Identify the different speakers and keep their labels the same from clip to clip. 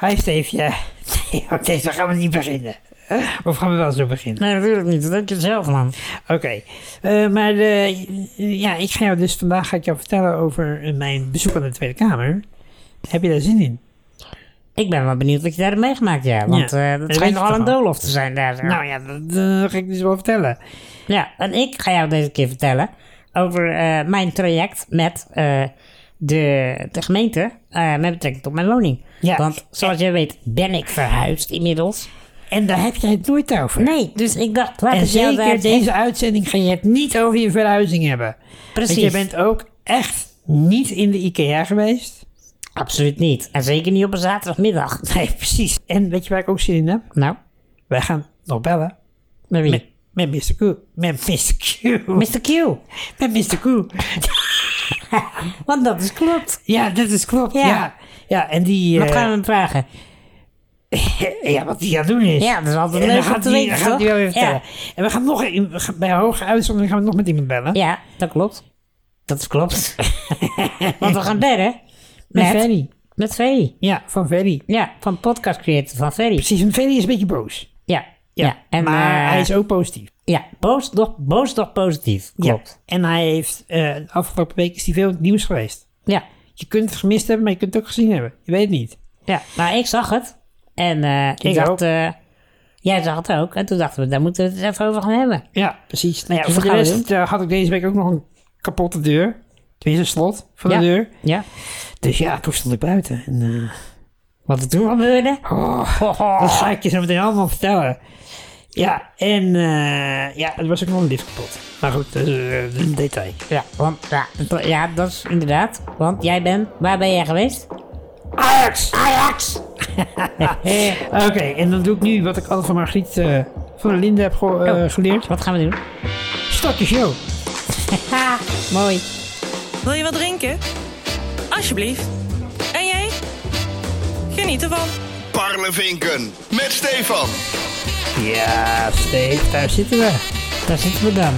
Speaker 1: Hi Steefje. Nee, oké, zo gaan we niet beginnen. Of gaan we wel zo beginnen?
Speaker 2: Nee, natuurlijk niet. Dat denk je zelf, man.
Speaker 1: Oké, Eh, maar eh, ja, ik ga jou dus vandaag ga ik jou vertellen over eh, mijn bezoek aan de Tweede Kamer. Heb je daar zin in?
Speaker 2: Ik ben wel benieuwd wat je daar hebt meegemaakt, ja. Want
Speaker 1: Ja,
Speaker 2: eh
Speaker 1: dat
Speaker 2: het
Speaker 1: weet
Speaker 2: schijnt
Speaker 1: je
Speaker 2: nogal
Speaker 1: toch
Speaker 2: een
Speaker 1: wel.
Speaker 2: doolhof te zijn daar.
Speaker 1: Nou ja, dat eh, ga ik dus wel vertellen.
Speaker 2: Ja, en ik ga jou deze keer vertellen over eh, mijn traject met eh, de, de gemeente eh, met betrekking tot mijn woning.
Speaker 1: Ja.
Speaker 2: Want zoals jij weet ben ik verhuisd inmiddels.
Speaker 1: En daar heb jij het nooit over.
Speaker 2: Nee, dus ik dacht, laat
Speaker 1: en
Speaker 2: ik jou daar
Speaker 1: zeker deze uitzending ga je het niet over je verhuizing hebben.
Speaker 2: Precies.
Speaker 1: Want je bent ook echt niet in de IKEA geweest.
Speaker 2: Absoluut niet. En zeker niet op een zaterdagmiddag.
Speaker 1: Nee, precies. En weet je waar ik ook zin in heb?
Speaker 2: Nou,
Speaker 1: Wij gaan nog bellen met,
Speaker 2: met wie?
Speaker 1: met Mr. Q. Met Mr. Q.
Speaker 2: Mr. Q.
Speaker 1: Met Mr. Q.
Speaker 2: Want dat is klopt.
Speaker 1: Ja, dat is klopt. Ja,
Speaker 2: Ja.
Speaker 1: ja. en die...
Speaker 2: Wat
Speaker 1: eh,
Speaker 2: gaan we hem vragen?
Speaker 1: ja, wat die gaat doen is...
Speaker 2: Ja, dat is altijd
Speaker 1: En dan
Speaker 2: leuk om
Speaker 1: gaat
Speaker 2: te
Speaker 1: die,
Speaker 2: weten,
Speaker 1: dan gaat
Speaker 2: toch?
Speaker 1: die wel weer vertellen.
Speaker 2: ja.
Speaker 1: En we gaan nog in- we gaan- bij hoge uitzondering gaan we nog met iemand bellen.
Speaker 2: ja, dat klopt. Dat is klopt. Want we gaan
Speaker 1: Met
Speaker 2: bellen met, met,
Speaker 1: Ferry.
Speaker 2: Ferry.
Speaker 1: Ja, van Ferry.
Speaker 2: Ja, van podcast creator van Ferry.
Speaker 1: Precies, want Ferry is een beetje boos.
Speaker 2: Ja, ja. En,
Speaker 1: maar
Speaker 2: eh,
Speaker 1: hij is ook positief.
Speaker 2: Ja, boos doch, boos doch positief. Klopt.
Speaker 1: Ja. En hij heeft, eh, de afgelopen week is hij veel in het nieuws geweest.
Speaker 2: Ja.
Speaker 1: Je kunt het gemist hebben, maar je kunt het ook gezien hebben. Je weet het niet.
Speaker 2: ja. Maar ik zag het. En eh, ik,
Speaker 1: Ik ook.
Speaker 2: dacht... eh, jij zag het ook. En toen dachten we, daar moeten we het eens even over gaan hebben.
Speaker 1: Ja, precies. Nou ja,
Speaker 2: Dus
Speaker 1: voor de
Speaker 2: dat gaan we
Speaker 1: rest eh, had ik deze week ook nog een kapotte deur. Tenminste, een slot van
Speaker 2: Ja.
Speaker 1: de deur.
Speaker 2: Ja.
Speaker 1: Dus ja, toen stond ik buiten. En, eh,
Speaker 2: Wat er toen gebeurde.
Speaker 1: Oh, dat ga ik je zo meteen allemaal vertellen. Ja, en eh, ja, er was ook nog een lift kapot. Maar goed, dat is, eh, dat is een detail.
Speaker 2: Ja, want, ja, dat- ja, dat is inderdaad. Want jij bent... Waar ben jij geweest?
Speaker 1: Ajax!
Speaker 2: Ajax!
Speaker 1: Oké, en dan doe ik nu wat ik al van Margriet eh, van der Linde heb ge- eh,
Speaker 2: Oh.
Speaker 1: geleerd.
Speaker 2: Wat gaan we doen?
Speaker 1: Start de show!
Speaker 2: Ha, mooi.
Speaker 3: Wil je wat drinken? Alsjeblieft. En jij? Geniet ervan.
Speaker 4: Parlevinken met Stefan.
Speaker 1: Ja, Steve, daar zitten we.
Speaker 2: Daar zitten we dan.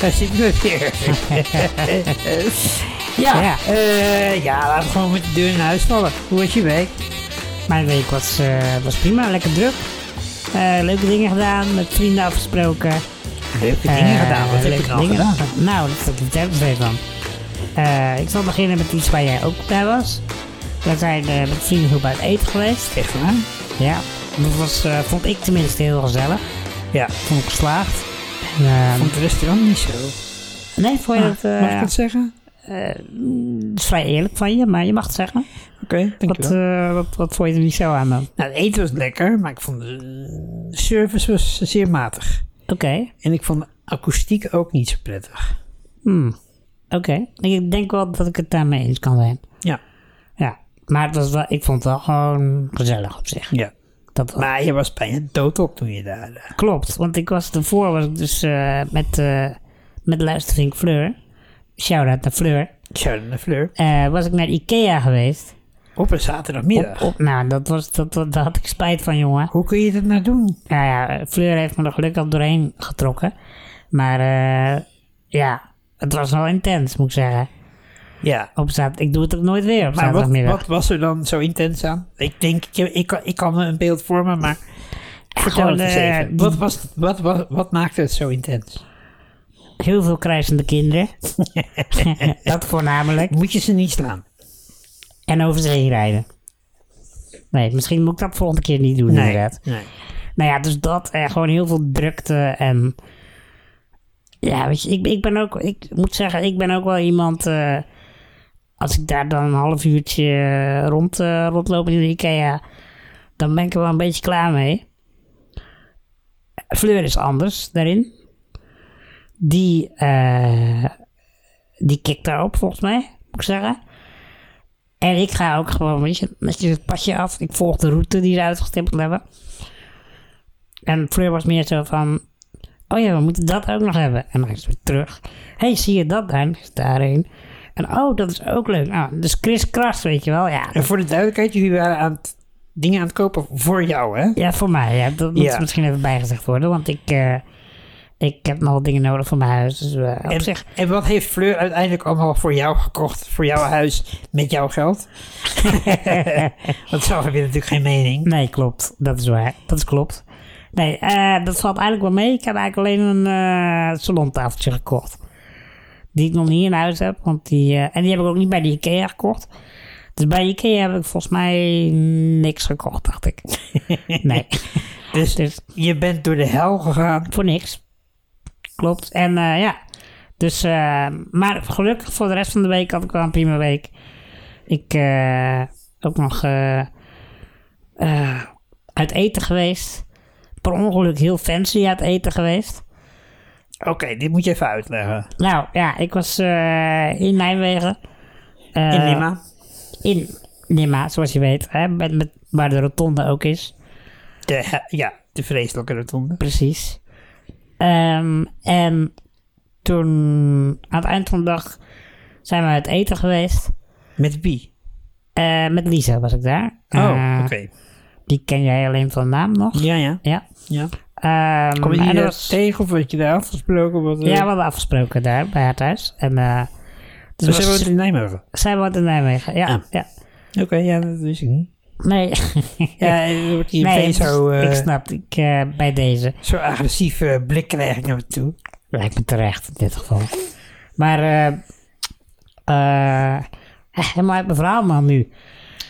Speaker 1: Daar zitten we weer. ja,
Speaker 2: Ja.
Speaker 1: eh, ja, laten we gewoon met de deur in huis vallen. Hoe was je week?
Speaker 2: Mijn week was, eh, was prima, lekker druk. Eh, leuke dingen gedaan, met vrienden afgesproken.
Speaker 1: Leuke
Speaker 2: Eh, leuke dingen. Nou, dat dat vertel ik even van. Eh, ik zal beginnen met iets waar jij ook bij was. We zijn eh, met vriendengroep uit eten geweest.
Speaker 1: Echt waar?
Speaker 2: Ja, dat was, eh, vond ik tenminste heel gezellig.
Speaker 1: Ja.
Speaker 2: Vond ik geslaagd. En, eh,
Speaker 1: Vond het restaurant niet zo.
Speaker 2: nee, vond je dat... eh,
Speaker 1: Mag ik dat zeggen?
Speaker 2: dat is vrij eerlijk van je, maar je mag het zeggen.
Speaker 1: Oké, dankjewel.
Speaker 2: Wat, eh, wat, wat vond je er niet zo aan dan?
Speaker 1: Nou, het eten was lekker, maar ik vond de eh, service was zeer matig.
Speaker 2: Oké.
Speaker 1: En ik vond de akoestiek ook niet zo prettig.
Speaker 2: Hmm. Oké, ik denk wel dat ik het daarmee eens kan zijn.
Speaker 1: Ja.
Speaker 2: Ja, maar het was wel, ik vond het wel gewoon gezellig op zich.
Speaker 1: ja.
Speaker 2: Dat wel.
Speaker 1: Maar je was bijna dood op toen je daar... eh,
Speaker 2: klopt, want ik was ervoor was ik dus eh, met, eh met luistering Fleur, shout-out naar Fleur,
Speaker 1: Sharon de Fleur.
Speaker 2: eh, was ik naar Ikea geweest.
Speaker 1: Op een zaterdagmiddag.
Speaker 2: Op, op, nou, dat was, dat, dat, daar had ik spijt van, jongen.
Speaker 1: Hoe kun je dat nou doen?
Speaker 2: Nou ja, Fleur heeft me er gelukkig doorheen getrokken. Maar eh, ja, het was wel intens, moet ik zeggen.
Speaker 1: Ja.
Speaker 2: Op zaterdag, ik doe het ook nooit weer op
Speaker 1: Maar wat,
Speaker 2: zaterdagmiddag.
Speaker 1: wat was er dan zo intens aan? Ik denk, ik, ik, kan, ik kan me een beeld vormen, maar vertel
Speaker 2: gewoon,
Speaker 1: het eens
Speaker 2: eh,
Speaker 1: even.
Speaker 2: die-
Speaker 1: Wat, was, wat, wat, wat maakte het zo intens?
Speaker 2: heel veel krijzende kinderen. dat voornamelijk.
Speaker 1: Moet je ze niet slaan?
Speaker 2: En over ze heen rijden. Nee, misschien moet ik dat volgende keer niet doen inderdaad.
Speaker 1: nee.
Speaker 2: Nou ja, dus dat. eh, gewoon heel veel drukte en... Ja, weet je, ik, ik ben ook... Ik moet zeggen, ik ben ook wel iemand... eh, als ik daar dan een half uurtje eh, rond, eh, rondloop in de Ikea... Dan ben ik er wel een beetje klaar mee. Fleur is anders daarin. Die, eh, die kikt daarop, volgens mij, moet ik zeggen. En ik ga ook gewoon, weet je, met je het padje af. Ik volg de route die ze uitgestippeld hebben. En Fleur was meer zo van... Oh ja, we moeten dat ook nog hebben. En dan is ze weer terug. hey, zie je dat daar? Dan is het daarheen. En oh, dat is ook leuk. Nou, dus Chris Kras, weet je wel. Ja,
Speaker 1: En voor de duidelijkheid, jullie waren aan het, dingen aan het kopen voor jou, hè?
Speaker 2: ja voor mij. Ja, dat moet
Speaker 1: Ja.
Speaker 2: misschien even bijgezegd worden. Want ik, eh, Ik heb nog wat dingen nodig voor mijn huis. Dus eh, op
Speaker 1: En,
Speaker 2: zich.
Speaker 1: en wat heeft Fleur uiteindelijk allemaal voor jou gekocht, voor jouw huis, met jouw geld? Want zelf heb je natuurlijk geen mening.
Speaker 2: Nee, klopt. Dat is waar. Dat klopt. Nee, eh, dat valt eigenlijk wel mee. Ik heb eigenlijk alleen een eh, salontafeltje gekocht. Die ik nog niet in huis heb. Want die, eh, en die heb ik ook niet bij de Ikea gekocht. Dus bij Ikea heb ik volgens mij niks gekocht, dacht ik. nee.
Speaker 1: Dus
Speaker 2: Dus
Speaker 1: je bent door de hel gegaan.
Speaker 2: voor niks. Klopt. En eh, ja, dus. eh, maar gelukkig voor de rest van de week had ik wel een prima week. Ik eh ook nog eh, eh, uit eten geweest. Per ongeluk heel fancy uit eten geweest.
Speaker 1: Oké, dit moet je even uitleggen.
Speaker 2: Nou ja, ik was eh, in Nijmegen. Eh,
Speaker 1: In Lima.
Speaker 2: In Lima, zoals je weet. Hè, met, met, waar de rotonde ook is.
Speaker 1: De, he- ja, de vreselijke rotonde.
Speaker 2: Precies. Ehm, en toen, aan het eind van de dag, zijn we uit eten geweest.
Speaker 1: Met wie?
Speaker 2: Eh, met Lisa was ik daar.
Speaker 1: Oh,
Speaker 2: Eh,
Speaker 1: oké.
Speaker 2: Die ken jij alleen van naam nog.
Speaker 1: Ja, ja,
Speaker 2: Ja.
Speaker 1: ja.
Speaker 2: Ehm,
Speaker 1: Kom je
Speaker 2: en
Speaker 1: die
Speaker 2: dat
Speaker 1: eh,
Speaker 2: was-
Speaker 1: tegen of had je daar afgesproken? Wat, eh,
Speaker 2: Ja, we hadden afgesproken daar, bij haar thuis. En, eh,
Speaker 1: dus
Speaker 2: dus was,
Speaker 1: hebben we het in Nijmegen?
Speaker 2: zij woont in Nijmegen. Ja,
Speaker 1: Ah.
Speaker 2: ja.
Speaker 1: Oké, ja, dat wist ik niet.
Speaker 2: Nee,
Speaker 1: Ja, je wordt hier
Speaker 2: nee
Speaker 1: meteen zo, eh,
Speaker 2: ik snap. Ik, eh, bij deze.
Speaker 1: zo'n agressieve blik krijg ik naar me toe.
Speaker 2: Lijkt me terecht in dit geval. Maar eh eh helemaal uit mijn verhaal man nu.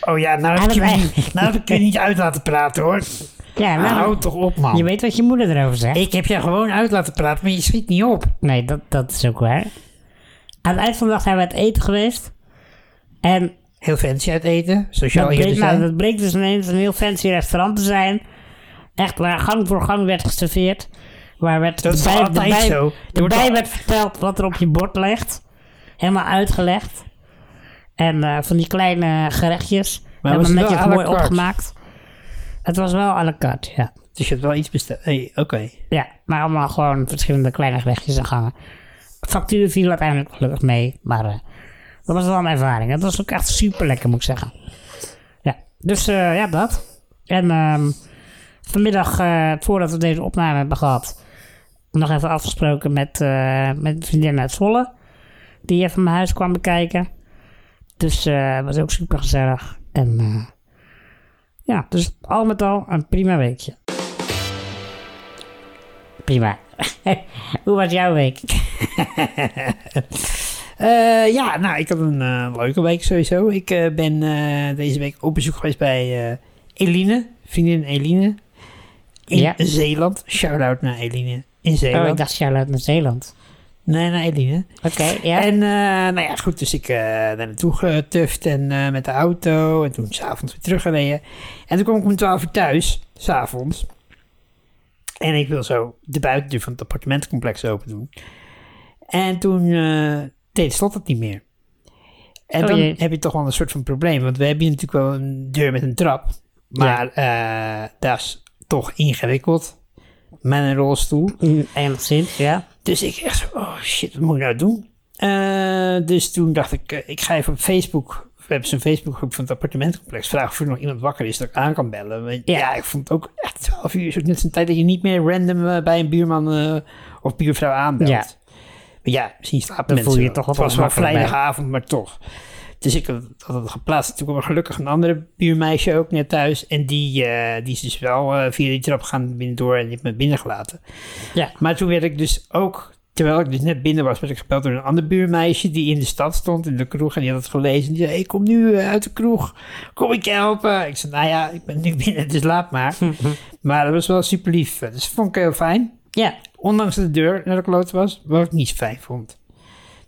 Speaker 1: Oh ja, nou
Speaker 2: Aan
Speaker 1: heb,
Speaker 2: het
Speaker 1: je me
Speaker 2: eind.
Speaker 1: niet, nou heb ik je niet uit laten praten hoor.
Speaker 2: Ja,
Speaker 1: Nou,
Speaker 2: nou,
Speaker 1: hou toch op man.
Speaker 2: je weet wat je moeder erover zegt.
Speaker 1: Ik heb je gewoon uit laten praten, maar je schiet niet op.
Speaker 2: Nee, dat, dat is ook waar. Aan het eind van de dag zijn we uit eten geweest. En
Speaker 1: Heel fancy uit eten, zoals je
Speaker 2: dat
Speaker 1: al eerder
Speaker 2: bleek, nou,
Speaker 1: zei.
Speaker 2: dat bleek dus ineens een heel fancy restaurant te zijn. Echt waar gang voor gang werd geserveerd. Waar werd
Speaker 1: Dat is
Speaker 2: erbij-
Speaker 1: toch altijd
Speaker 2: erbij-
Speaker 1: zo? Er wordt
Speaker 2: erbij
Speaker 1: al-
Speaker 2: werd verteld wat er op je bord ligt. Helemaal uitgelegd. En eh, van die kleine
Speaker 1: was
Speaker 2: gerechtjes. Helemaal
Speaker 1: het wel
Speaker 2: netjes
Speaker 1: à la
Speaker 2: mooi
Speaker 1: carte?
Speaker 2: opgemaakt. Het was wel à la carte, ja.
Speaker 1: Dus je hebt wel iets besteld. Hey, oké.
Speaker 2: Ja, maar allemaal gewoon verschillende kleine gerechtjes en gangen. Factuur viel uiteindelijk gelukkig mee, maar eh, dat was wel een ervaring. Het was ook echt super lekker, moet ik zeggen. Ja, dus eh, ja, dat. En ehm, vanmiddag, eh, voordat we deze opname hebben gehad, nog even afgesproken met, eh, met een vriendin uit Zwolle. Die even mijn huis kwam bekijken. Dus eh, het was ook super gezellig. En eh, ja, dus al met al een prima weekje. Prima. Hoe was jouw week?
Speaker 1: Eh, ja, nou, ik had een eh, leuke week sowieso. Ik eh, ben eh, deze week op bezoek geweest bij eh, Eline, vriendin Eline. In
Speaker 2: Ja.
Speaker 1: Zeeland. Shout-out naar Eline in Zeeland.
Speaker 2: Oh, ik dacht Charlotte naar Zeeland.
Speaker 1: Nee, naar Eline.
Speaker 2: Oké, ja.
Speaker 1: En eh, nou ja, goed, dus ik eh daar naartoe getuft en eh, met de auto. En toen s'avonds weer teruggereden. En toen kwam ik om 12 uur thuis, s'avonds. En ik wil zo de buitendeur van het appartementencomplex open doen. En toen eh, deed het slot het niet meer. En
Speaker 2: Oh
Speaker 1: dan
Speaker 2: jee.
Speaker 1: heb je toch wel een soort van probleem. Want we hebben hier natuurlijk wel een deur met een trap. Maar eh, dat is toch ingewikkeld. Met een rolstoel.
Speaker 2: Mm, Enigszins, ja.
Speaker 1: Dus ik echt zo, oh shit, wat moet ik nou doen? Eh, dus toen dacht ik, eh, ik ga even op Facebook. We hebben zo'n Facebookgroep van het appartementcomplex. Vraag of er nog iemand wakker is dat ik aan kan bellen. Want ja.
Speaker 2: Ja.
Speaker 1: ik vond ook echt 12 uur is ook net zo'n tijd dat je niet meer random eh, bij een buurman eh, of buurvrouw aanbelt.
Speaker 2: Ja.
Speaker 1: Maar ja, misschien slapen
Speaker 2: Dan
Speaker 1: mensen
Speaker 2: voel je
Speaker 1: wel.
Speaker 2: je toch
Speaker 1: Het
Speaker 2: wel
Speaker 1: was wel
Speaker 2: ongemakkelijk bij.
Speaker 1: vrijdagavond, maar toch. Dus ik had had het geplaatst. Toen kwam er gelukkig een andere buurmeisje ook net thuis. En die, eh, die is dus wel eh, via die trap gaan binnendoor en die heeft me binnengelaten.
Speaker 2: Ja.
Speaker 1: Maar toen werd ik dus ook, terwijl ik dus net binnen was, werd ik gebeld door een ander buurmeisje die in de stad stond, in de kroeg. En die had het gelezen. En die zei, ik kom nu eh, uit de kroeg. Kom ik je helpen? Ik zei, nou ja, ik ben nu binnen, dus laat maar. maar dat was wel super lief. Dus dat vond ik heel fijn.
Speaker 2: Ja,
Speaker 1: Ondanks dat de deur naar de kloot was, wat ik niet fijn vond.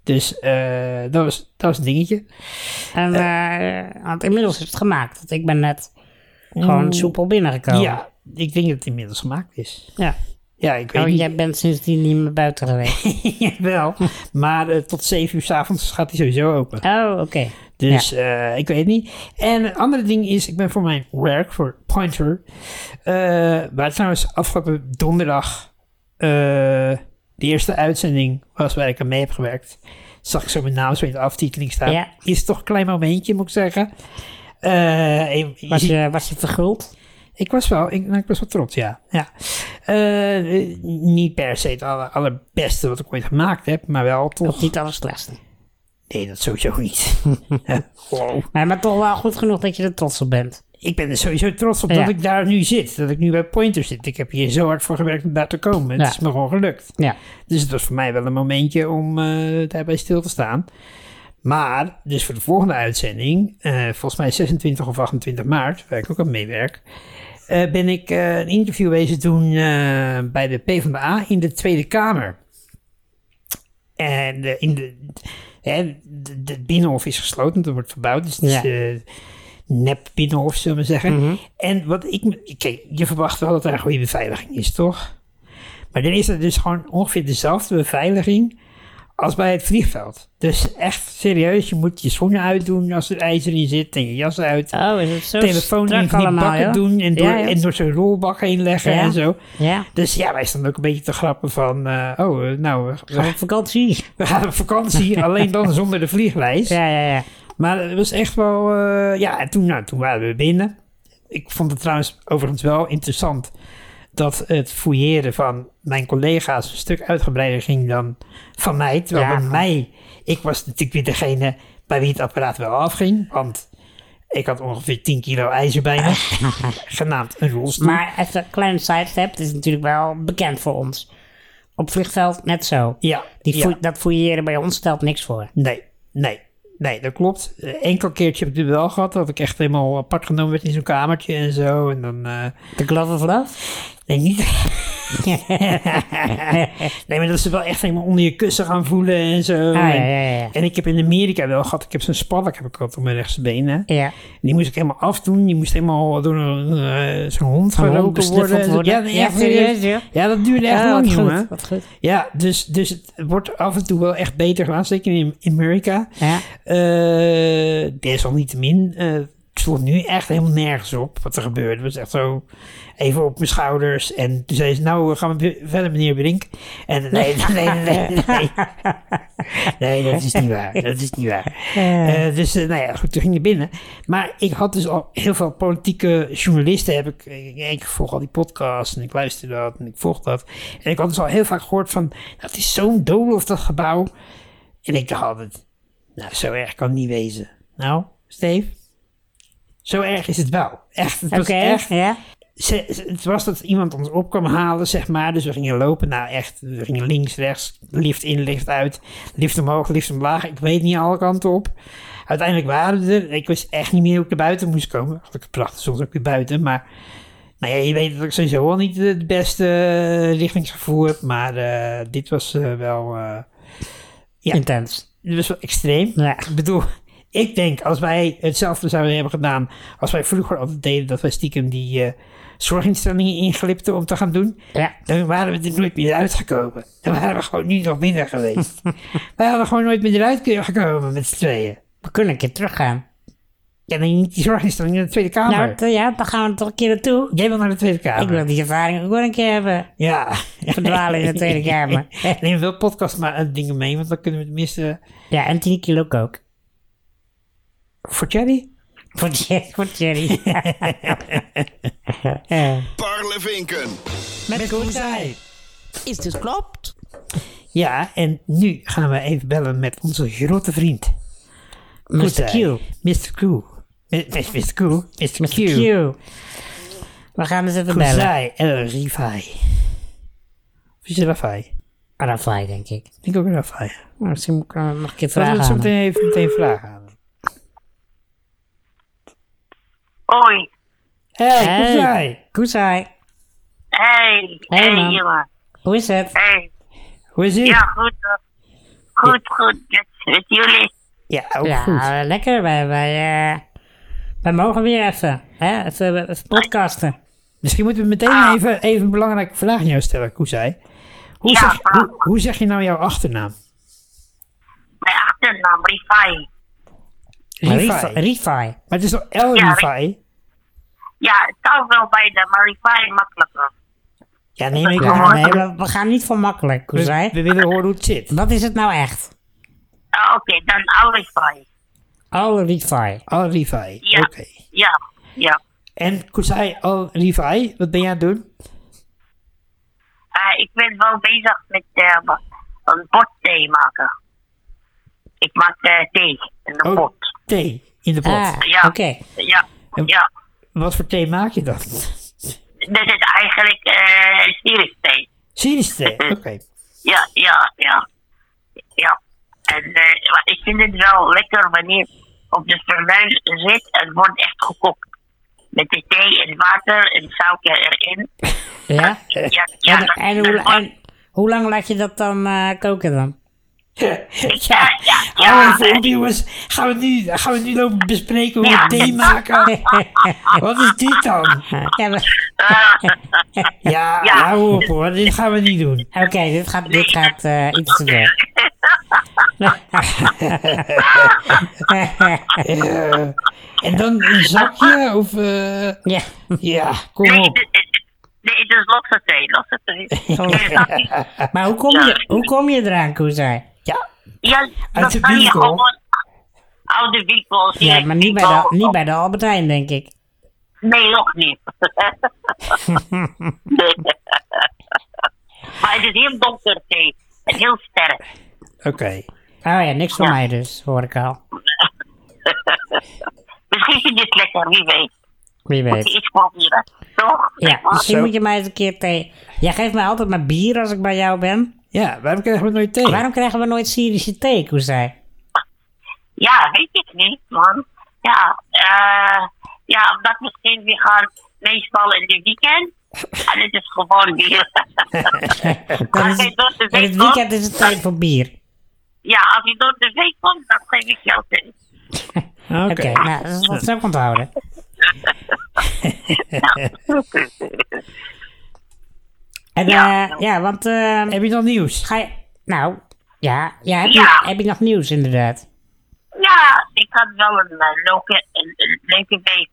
Speaker 1: Dus eh, dat, was, dat was een dingetje.
Speaker 2: en, eh, want inmiddels is het gemaakt. Want ik ben net gewoon soepel binnengekomen.
Speaker 1: Ja, ik denk dat het inmiddels gemaakt is.
Speaker 2: ja.
Speaker 1: Ja, ik weet
Speaker 2: Oh,
Speaker 1: niet.
Speaker 2: jij bent sindsdien niet meer buiten geweest.
Speaker 1: wel. Maar eh, tot 7 uur s avonds gaat hij sowieso open.
Speaker 2: oh, oké.
Speaker 1: Dus eh, ik weet niet. En het andere ding is, ik ben voor mijn werk, voor Pointer. eh waar trouwens afgelopen donderdag eh, de eerste uitzending was waar ik aan mee heb gewerkt. Zag ik zo mijn naam zo in de aftiteling staan.
Speaker 2: Ja.
Speaker 1: Is toch een klein momentje, moet ik zeggen. Eh, je- je
Speaker 2: Was
Speaker 1: ziet-
Speaker 2: je, was je verguld?
Speaker 1: ik was wel, ik, nou, ik was wel trots, ja. ja. Eh, niet per se het aller- allerbeste wat ik ooit gemaakt heb, maar wel
Speaker 2: Of
Speaker 1: toch.
Speaker 2: niet alles slechtste.
Speaker 1: Nee, dat sowieso niet. wow.
Speaker 2: Maar, maar toch wel goed genoeg dat je er trots op bent.
Speaker 1: Ik ben er sowieso trots op
Speaker 2: Ja.
Speaker 1: dat ik daar nu zit. Dat ik nu bij Pointer zit. Ik heb hier zo hard voor gewerkt om daar te komen. Het
Speaker 2: Ja.
Speaker 1: is me gewoon gelukt.
Speaker 2: Ja.
Speaker 1: Dus het was voor mij wel een momentje om eh, daarbij stil te staan. Maar, dus voor de volgende uitzending, eh, volgens mij 26 of 28 maart, waar ik ook aan meewerk, eh, ben ik eh, een interview wezen doen eh, bij de PvdA in de Tweede Kamer. En eh, in de, hè, de, de binnenhof is gesloten, dat wordt verbouwd, dus het is
Speaker 2: Ja.
Speaker 1: eh, nep binnenhof, zullen we zeggen. En wat ik, me- kijk, je verwacht wel dat er een goede beveiliging is, toch? Maar dan is er dus gewoon ongeveer dezelfde beveiliging als bij het vliegveld. Dus echt serieus, je moet je schoenen uitdoen als er ijzer in zit en je jas uit.
Speaker 2: Oh, is het zo
Speaker 1: telefoon in
Speaker 2: strak
Speaker 1: van die
Speaker 2: allemaal,
Speaker 1: bakken
Speaker 2: joh?
Speaker 1: doen en door,
Speaker 2: Ja, joh.
Speaker 1: en door zo'n rolbak heen leggen
Speaker 2: Ja.
Speaker 1: en zo.
Speaker 2: Ja,
Speaker 1: Dus ja, wij stonden ook een beetje te grappen van, eh, oh, eh, nou, we-
Speaker 2: gaan we
Speaker 1: we,
Speaker 2: op vakantie.
Speaker 1: we gaan op vakantie, alleen dan zonder de vlieglijst.
Speaker 2: Ja, ja, ja.
Speaker 1: Maar het was echt wel. eh, ja, en toen, nou, toen waren we binnen. Ik vond het trouwens overigens wel interessant dat het fouilleren van mijn collega's een stuk uitgebreider ging dan van mij. Terwijl
Speaker 2: Ja,
Speaker 1: bij
Speaker 2: van-
Speaker 1: mij, ik was natuurlijk weer degene bij wie het apparaat wel afging. Want ik had ongeveer 10 kilo ijzer bij me, genaamd een rolstoel.
Speaker 2: Maar even een kleine sidestep, het is natuurlijk wel bekend voor ons. Op vliegveld net zo.
Speaker 1: ja,
Speaker 2: Die
Speaker 1: ja.
Speaker 2: foei- dat fouilleren bij ons stelt niks voor.
Speaker 1: Nee, nee, nee, dat klopt. Eh, Enkel keertje heb ik het wel gehad, dat ik echt helemaal apart genomen werd in zo'n kamertje en zo. En dan... eh,
Speaker 2: De glove of love?
Speaker 1: Nee, niet. nee, maar dat ze wel echt helemaal onder je kussen gaan voelen en zo.
Speaker 2: Ah, ja, ja, ja, ja.
Speaker 1: En ik heb in Amerika wel gehad, ik heb zo'n spalk heb ik gehad op mijn rechtsbeen. Hè.
Speaker 2: Ja.
Speaker 1: Die moest ik helemaal afdoen, die moest helemaal door een, eh, zo'n hond
Speaker 2: Gewoon
Speaker 1: geroken
Speaker 2: besnuffeld
Speaker 1: worden.
Speaker 2: worden.
Speaker 1: Ja, nee,
Speaker 2: Ja,
Speaker 1: echt serieus.
Speaker 2: serieus, joh.
Speaker 1: Ja, dat duurde echt
Speaker 2: Ah,
Speaker 1: lang,
Speaker 2: wat
Speaker 1: jongen.
Speaker 2: goed, wat goed.
Speaker 1: Ja, dus, dus het wordt af en toe wel echt beter gedaan, zeker in, in Amerika.
Speaker 2: Ja.
Speaker 1: Eh, desalniettemin, eh, het sloeg nu echt helemaal nergens op wat er gebeurde. Het was echt zo even op mijn schouders. En toen zei ze, nou eh, gaan we weer- verder meneer Brink. En nee, nee, nee, nee. Nee, nee dat is niet waar. Dat is niet waar. Eh, dus eh, nou ja, goed, toen ging je binnen. Maar ik had dus al heel veel politieke journalisten. Heb ik, eh, ik, ik volg al die podcasts en ik luister dat en ik volg dat. En ik had dus al heel vaak gehoord van, dat is zo'n doolhof dat gebouw. En ik dacht altijd, nou, zo erg kan het niet wezen. Nou, Steve, zo erg is het wel. Echt, het
Speaker 2: Oké,
Speaker 1: was echt...
Speaker 2: ja.
Speaker 1: ze- ze- het was dat iemand ons op kwam halen, zeg maar. Dus we gingen lopen. Nou, echt, we gingen links, rechts, lift in, lift uit. Lift omhoog, lift omlaag. Ik weet niet alle kanten op. Uiteindelijk waren we er. Ik wist echt niet meer hoe ik er buiten moest komen. Gelukkig prachtig soms ook weer buiten, maar... Nou ja, je weet dat ik sowieso al niet het beste eh, richtingsgevoel heb, maar eh, dit was eh, wel... eh, Ja.
Speaker 2: Intens.
Speaker 1: dit was wel extreem.
Speaker 2: Ja.
Speaker 1: Ik bedoel, ik denk als wij hetzelfde zouden hebben gedaan als wij vroeger altijd deden, dat wij stiekem die eh, zorginstellingen inglipten om te gaan doen,
Speaker 2: Ja.
Speaker 1: dan waren we er nooit meer uitgekomen. Dan waren we gewoon nu nog minder geweest. wij hadden gewoon nooit meer eruit kunnen gekomen met z'n tweeën.
Speaker 2: We kunnen een keer teruggaan.
Speaker 1: En dan niet die zorginstellingen naar de Tweede Kamer.
Speaker 2: Nou, t- ja, dan gaan we toch een keer naartoe.
Speaker 1: Jij wil naar de Tweede Kamer.
Speaker 2: Ik wil die ervaring ook wel een keer hebben.
Speaker 1: Ja.
Speaker 2: Verdwalen in de Tweede Kamer.
Speaker 1: Neem wel podcast maar eh, dingen mee, want dan kunnen we tenminste...
Speaker 2: Ja, en 10 kilo kook.
Speaker 1: Voor Jerry?
Speaker 2: Voor, Jer- voor Jerry. Eh.
Speaker 4: Parlevinken.
Speaker 1: Met Koenzij.
Speaker 3: Is dit klopt?
Speaker 1: Ja, en nu gaan we even bellen met onze grote vriend.
Speaker 2: Mr.
Speaker 1: Goed, hè?
Speaker 2: Q.
Speaker 1: Mr. eh, Q. Mi- mi- Mr. Q. Mr.
Speaker 2: Mr.
Speaker 1: Q.
Speaker 2: Q. We gaan eens even bellen.
Speaker 1: Kuzai El Rifai. Of is het Rafai?
Speaker 2: Arafai, denk ik.
Speaker 1: Ik denk ook Rafai.
Speaker 2: Nou, misschien moet ik eh, nog een
Speaker 1: Laten
Speaker 2: keer
Speaker 1: we
Speaker 2: vragen
Speaker 1: het zo
Speaker 2: aan hem.
Speaker 1: meteen even meteen vragen aan hem.
Speaker 5: Hoi.
Speaker 1: Hey,
Speaker 2: Hey.
Speaker 1: Kuzai.
Speaker 2: Koezai,
Speaker 5: Hey.
Speaker 2: Hey, man.
Speaker 5: jongen.
Speaker 2: hoe is het?
Speaker 5: Hey.
Speaker 1: Hoe is het?
Speaker 5: Ja, goed. hoor. Goed, goed. Met, met jullie.
Speaker 1: Ja, ook
Speaker 2: ja,
Speaker 1: goed.
Speaker 2: eh, lekker. Wij, wij, eh, wij mogen weer even. Hè? Even, even podcasten.
Speaker 1: Misschien moeten we meteen
Speaker 5: Ah.
Speaker 1: even, even een belangrijke vraag aan jou stellen, Kuzai. Hoe,
Speaker 5: Ja, ah.
Speaker 1: zeg,
Speaker 5: vraag.
Speaker 1: hoe, hoe zeg je nou jouw achternaam?
Speaker 5: Mijn achternaam, Rifai.
Speaker 1: Rifai.
Speaker 2: Refi- Refi.
Speaker 1: Maar het is toch El
Speaker 5: Ja,
Speaker 1: Rifai?
Speaker 5: Ja, het kan wel bijna, maar Rifai makkelijker.
Speaker 1: Ja, Dus nee, maar ik
Speaker 2: Ja,
Speaker 5: maar-
Speaker 2: nee, we, we gaan niet voor makkelijk,
Speaker 1: we,
Speaker 2: Koezai.
Speaker 1: we willen horen hoe het zit.
Speaker 2: Wat is het nou echt?
Speaker 5: Ah, Oké, dan Al-Rifai.
Speaker 2: Alle Oh, Refi.
Speaker 1: Al Rifai.
Speaker 5: Ja.
Speaker 1: Oké.
Speaker 5: Ja, ja.
Speaker 1: En Kuzai Al Rifai, wat ben jij aan het doen?
Speaker 5: maar Eh, ik ben wel bezig met eh, wat- een bordthee maken. Ik maak eh, thee in een
Speaker 1: Oh,
Speaker 5: pot.
Speaker 1: thee in de pot.
Speaker 2: Ah,
Speaker 5: Ja.
Speaker 2: oké.
Speaker 5: Ja,
Speaker 1: En-
Speaker 5: ja.
Speaker 1: Wat voor thee maak je dan?
Speaker 5: Dat is eigenlijk eh Syrisch thee.
Speaker 1: Syrische thee, oké.
Speaker 5: Ja, ja, ja. Ja. En eh, maar ik vind het wel lekker wanneer op de fornuis zit en wordt echt gekookt. Met de thee en water en zoutje erin.
Speaker 2: Ja?
Speaker 5: Ja,
Speaker 2: Eh,
Speaker 5: ja,
Speaker 2: en,
Speaker 5: dat-
Speaker 2: en hoe, en hoe lang laat je dat dan eh, koken dan?
Speaker 1: Ja,
Speaker 5: ja, ja.
Speaker 1: Oh, voor jongens, gaan we, nu, gaan we nu lopen bespreken hoe
Speaker 5: Ja.
Speaker 1: we thee maken? Wat is dit dan?
Speaker 2: Ja, maar-
Speaker 1: Ja,
Speaker 5: Ja.
Speaker 1: hou op hoor, dit gaan we niet doen.
Speaker 2: Oké, dit gaat, dit gaat eh, iets te ver.
Speaker 1: Eh, en dan een zakje of... eh,
Speaker 2: ja,
Speaker 1: ja, kom
Speaker 5: Nee,
Speaker 1: op.
Speaker 5: het- het- nee, het is losse thee, losse thee.
Speaker 2: Oh. maar hoe kom je, hoe kom je eraan, Koezij?
Speaker 1: Ja,
Speaker 5: Ja,
Speaker 1: Uit de
Speaker 5: dat kan je
Speaker 1: winkel?
Speaker 5: gewoon... Oude winkels.
Speaker 2: Ja, maar niet bij de,
Speaker 5: winkels.
Speaker 2: niet bij de Albert Heijn, denk ik.
Speaker 5: Nee, nog niet. maar het is heel donker thee. En heel sterk.
Speaker 1: oké.
Speaker 2: Oh ja, niks van mij dus, hoor ik al.
Speaker 5: Misschien vind je het lekker, wie weet.
Speaker 2: Wie
Speaker 5: Moet je
Speaker 2: weet.
Speaker 5: iets proberen, toch?
Speaker 2: Ja, misschien
Speaker 1: Zo.
Speaker 2: moet je mij eens een keer thee... Jij geeft mij altijd maar bier als ik bij jou ben.
Speaker 1: Ja, waarom krijgen we nooit thee?
Speaker 2: Waarom krijgen we nooit Syrische thee, Koezij?
Speaker 5: Ja, weet ik niet, man. Ja, eh ja, omdat misschien we gaan meestal in de weekend. En het is gewoon bier.
Speaker 2: Dan
Speaker 5: als
Speaker 2: is
Speaker 5: je door de
Speaker 2: het- In
Speaker 5: week
Speaker 2: het
Speaker 5: komt,
Speaker 2: weekend is het tijd voor bier.
Speaker 5: ja, als je door de week komt, dan geef ik jou thee.
Speaker 1: Oké.
Speaker 2: Oké, nou, dat is- dat zou ik onthouden. En, ja.
Speaker 5: Ja.
Speaker 2: ja, want eh,
Speaker 1: Heb je dan nieuws?
Speaker 2: ga je... Nou, ja, ja, heb,
Speaker 5: Ja.
Speaker 2: Je, heb je nog nieuws inderdaad?
Speaker 5: Ja, ik had wel een, eh, leuke, een, een leuke week.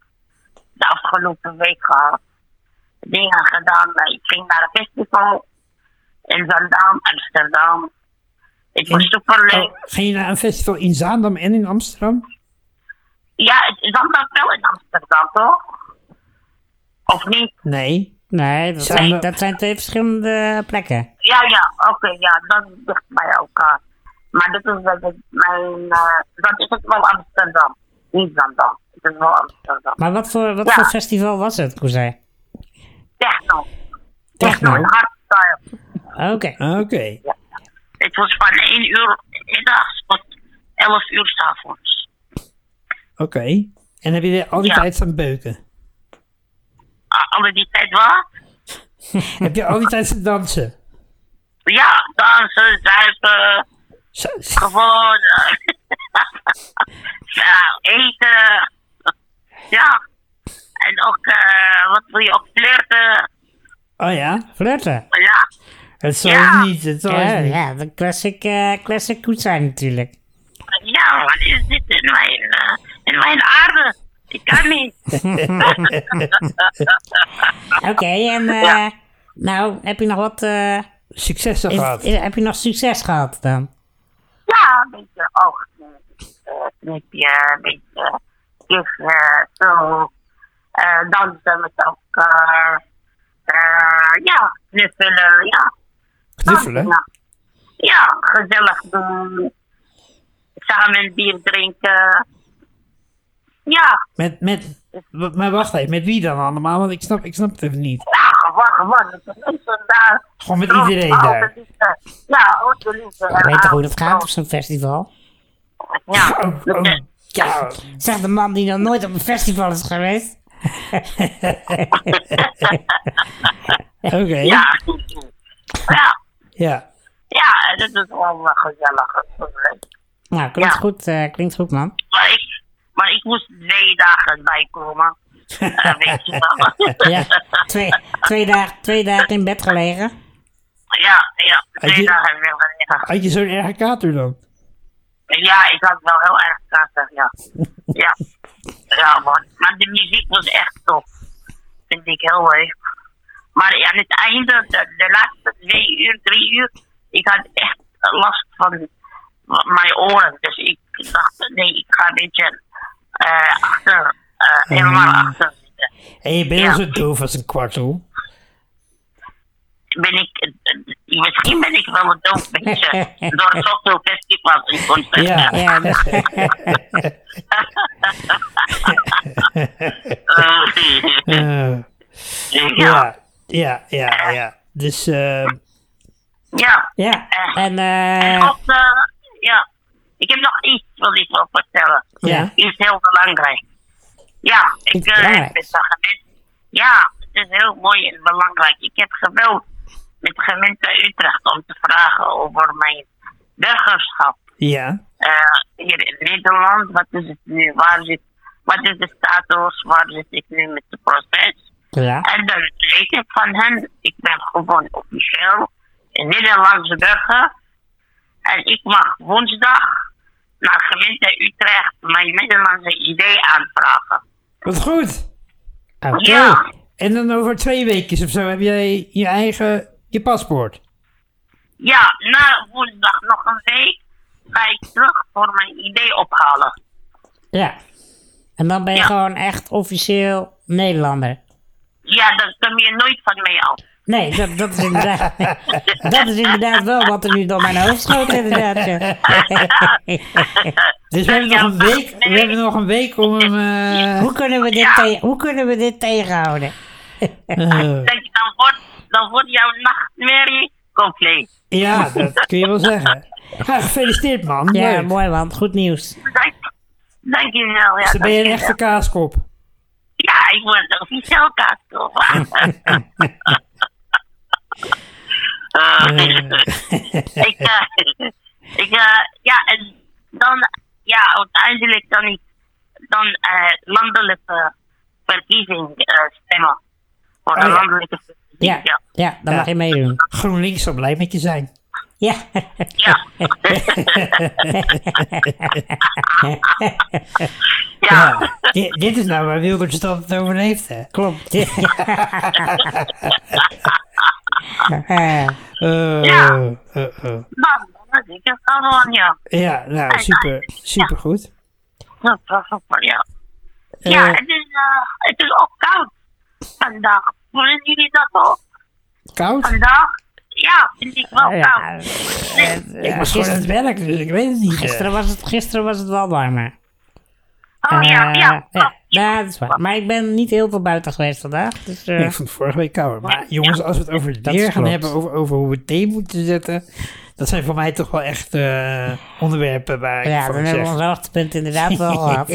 Speaker 5: De afgelopen week gehad. Dingen gedaan. Eh, Ik ging naar een festival. In Zandam, Amsterdam. Het was superleuk.
Speaker 1: Oh, ging je naar een festival in Zaandam en in Amsterdam?
Speaker 5: Ja, het is Zandam wel in Amsterdam, toch? Of niet?
Speaker 1: Nee.
Speaker 2: Nee, dat
Speaker 1: Zijn
Speaker 2: zijn,
Speaker 1: we-
Speaker 2: dat zijn twee verschillende plekken.
Speaker 5: Ja, ja, oké, ja, dat is dicht bij elkaar. Maar dit is, dat is mijn, eh, dat is het wel Amsterdam. Niet Zandam. Het is wel Amsterdam.
Speaker 2: Maar wat voor, wat
Speaker 5: Ja.
Speaker 2: voor festival was het, Koezij?
Speaker 5: Techno.
Speaker 2: Techno?
Speaker 5: en hardstyle.
Speaker 2: Oké.
Speaker 1: Oké.
Speaker 5: Het was van 1 uur middags tot 11 uur 's avonds.
Speaker 1: Oké. En heb je er al die
Speaker 5: Ja.
Speaker 1: tijd staan beuken?
Speaker 5: A- Alle die tijd wat?
Speaker 1: heb je al die tijd staan dansen?
Speaker 5: Ja, dansen, zuipen,
Speaker 1: Zo-
Speaker 5: gewoon. eh, ja, eten. Ja. En ook, eh, wat wil je ook flirten?
Speaker 1: Oh ja?
Speaker 2: Flirten.
Speaker 5: Ja.
Speaker 1: Het zal
Speaker 5: Ja.
Speaker 1: niet. Het zal
Speaker 2: Ja,
Speaker 1: niet.
Speaker 2: Oh, ja, de classic, eh classic Koezij natuurlijk.
Speaker 5: Ja, wat is dit in mijn, eh, in mijn aarde? Ik kan niet.
Speaker 2: Oké, en eh, nou, heb je nog wat... eh,
Speaker 1: Succes
Speaker 2: is-
Speaker 1: gehad.
Speaker 2: is- heb je nog succes gehad dan?
Speaker 5: Ja, een beetje oog. eh, Knipje, een beetje kussen, zo. eh dansen met elkaar. eh ja, knuffelen, ja.
Speaker 1: Knuffelen?
Speaker 5: Ja. Ja, gezellig doen. Samen een bier drinken. Ja,
Speaker 1: Met, met, w- maar wacht even, met wie dan allemaal? Want ik snap, ik snap het even niet.
Speaker 5: ja gewoon, gewoon. met de mensen daar.
Speaker 1: Gewoon met
Speaker 5: Dronken,
Speaker 1: iedereen
Speaker 5: oude
Speaker 1: daar.
Speaker 5: liefde. Ja, oude liefde.
Speaker 2: Je weet toch hoe dat gaat op zo'n festival?
Speaker 5: Ja,
Speaker 1: Oh, oh, ja.
Speaker 2: Zegt de man die nog nooit op een festival is geweest.
Speaker 1: Oké.
Speaker 5: ja. Ja.
Speaker 1: Ja.
Speaker 5: Ja, dat is wel eh, gezellig. dat is leuk.
Speaker 2: Nou, klinkt
Speaker 5: Ja.
Speaker 2: goed, eh, klinkt goed man.
Speaker 5: Maar ik, maar ik moest twee dagen bijkomen. Eh, weet je wel.
Speaker 2: Ja, twee, twee, dagen, twee dagen in bed gelegen.
Speaker 5: ja, ja, twee
Speaker 1: je-
Speaker 5: dagen weer gelegen.
Speaker 1: Had je zo'n erge kater dan?
Speaker 5: Ja, ik had wel heel erg kater, ja. Ja, ja man. Maar de muziek was echt top. Vind ik heel leuk. Maar aan het einde, de, de laatste twee uur, drie uur, ik had echt last van mijn oren. Dus ik dacht, nee, ik ga een beetje eh, achter, eh, helemaal achter zitten.
Speaker 1: En je bent
Speaker 5: Ja.
Speaker 1: al zo doof als een kwartel.
Speaker 5: ben ik, eh, misschien ben ik wel een doof beetje door zoveel festivals en concerten.
Speaker 1: Ja.
Speaker 2: Ja, dus, dat-
Speaker 5: Eh,
Speaker 1: Eh,
Speaker 5: ja.
Speaker 1: ja, ja, ja, ja. Dus, eh,
Speaker 5: ja.
Speaker 2: ja. En,
Speaker 5: En
Speaker 2: eh
Speaker 5: ook, eh, ja, ik heb nog iets wat ik wil vertellen.
Speaker 2: Ja.
Speaker 5: Iets heel belangrijk. Ja, ik
Speaker 2: Iets
Speaker 5: eh,
Speaker 2: belangrijks.
Speaker 5: met de gemeente. Ja, het is heel mooi en belangrijk. Ik heb gebeld met de gemeente Utrecht om te vragen over mijn burgerschap.
Speaker 1: ja,
Speaker 5: Eh, hier in Nederland, wat is het nu? Waar zit, wat is de status? Waar zit ik nu met het proces?
Speaker 2: ja.
Speaker 5: En dan weet ik van hen, ik ben gewoon officieel een Nederlandse burger. En ik mag woensdag naar gemeente Utrecht mijn Nederlandse idee aanvragen.
Speaker 1: wat goed. Oké.
Speaker 5: Ja.
Speaker 1: En dan over twee weken of zo heb jij je eigen, je paspoort.
Speaker 5: Ja, na woensdag nog een week ga ik terug voor mijn idee ophalen.
Speaker 2: ja. En dan ben je
Speaker 5: Ja.
Speaker 2: gewoon echt officieel Nederlander.
Speaker 5: Ja, dat kom je nooit van mij af.
Speaker 2: Nee, dat, dat, is inderdaad, dat is inderdaad wel wat er nu door mijn hoofd schoot, inderdaad. ja.
Speaker 1: Dus we hebben, nog een week, we hebben nog een week om hem... eh,
Speaker 2: Hoe kunnen we dit,
Speaker 5: Ja.
Speaker 2: te- hoe kunnen we dit tegenhouden?
Speaker 1: eh,
Speaker 5: Denk, dan, wordt, dan wordt jouw nachtmerrie compleet.
Speaker 1: ja, dat kun je wel zeggen. Ja, gefeliciteerd man.
Speaker 2: Ja,
Speaker 1: Leuk.
Speaker 2: mooi man. Goed nieuws.
Speaker 5: Dank, dankjewel. Ja,
Speaker 1: Dus dan ben je een
Speaker 5: dankjewel.
Speaker 1: echte kaaskop.
Speaker 5: Ja, ik word officieel kastel. Ah. ik, eh, ik, eh, ja, en dan, ja, uiteindelijk dan ik, dan eh, landelijke verkiezing eh, stemmen. Voor de
Speaker 1: Oh ja.
Speaker 5: landelijke verkiezing,
Speaker 2: Ja,
Speaker 5: ja.
Speaker 2: ja dan
Speaker 1: Ja.
Speaker 2: mag je meedoen.
Speaker 1: GroenLinks zal blij met je zijn.
Speaker 2: Ja.
Speaker 5: Ja. ja.
Speaker 1: Di- dit is nou waar Wilders het altijd over heeft, hè?
Speaker 2: Klopt. Eh,
Speaker 1: Eh,
Speaker 5: Ja.
Speaker 1: eh, eh.
Speaker 5: Nou, dat is het gewoon, ja.
Speaker 1: Ja, nou, super, super goed.
Speaker 5: Dat was ook wel, ja. Ja, het is, eh, het is ook koud vandaag. Voelen jullie dat ook?
Speaker 1: Koud?
Speaker 5: Vandaag? Ah, Ja, vind ik wel
Speaker 2: ja. Eh,
Speaker 5: koud.
Speaker 1: Ik was gewoon aan het
Speaker 2: Gisteren,
Speaker 1: werk, dus ik weet het niet.
Speaker 2: gisteren was het, gisteren was het wel warmer.
Speaker 5: Oh ja,
Speaker 2: Eh,
Speaker 5: ja.
Speaker 2: ja, dat is waar. Maar ik ben niet heel veel buiten geweest vandaag. Dus, eh,
Speaker 1: Nee, ik vond het vorige week kouder. Maar jongens, als we het over het weer
Speaker 2: is
Speaker 1: gaan
Speaker 2: klopt.
Speaker 1: hebben, over, over hoe we het thee moeten zetten, dat zijn voor mij toch wel echt eh, onderwerpen waar ik
Speaker 2: ja,
Speaker 1: van
Speaker 2: dan hebben we
Speaker 1: zeg.
Speaker 2: ons hoogtepunt inderdaad wel gehad.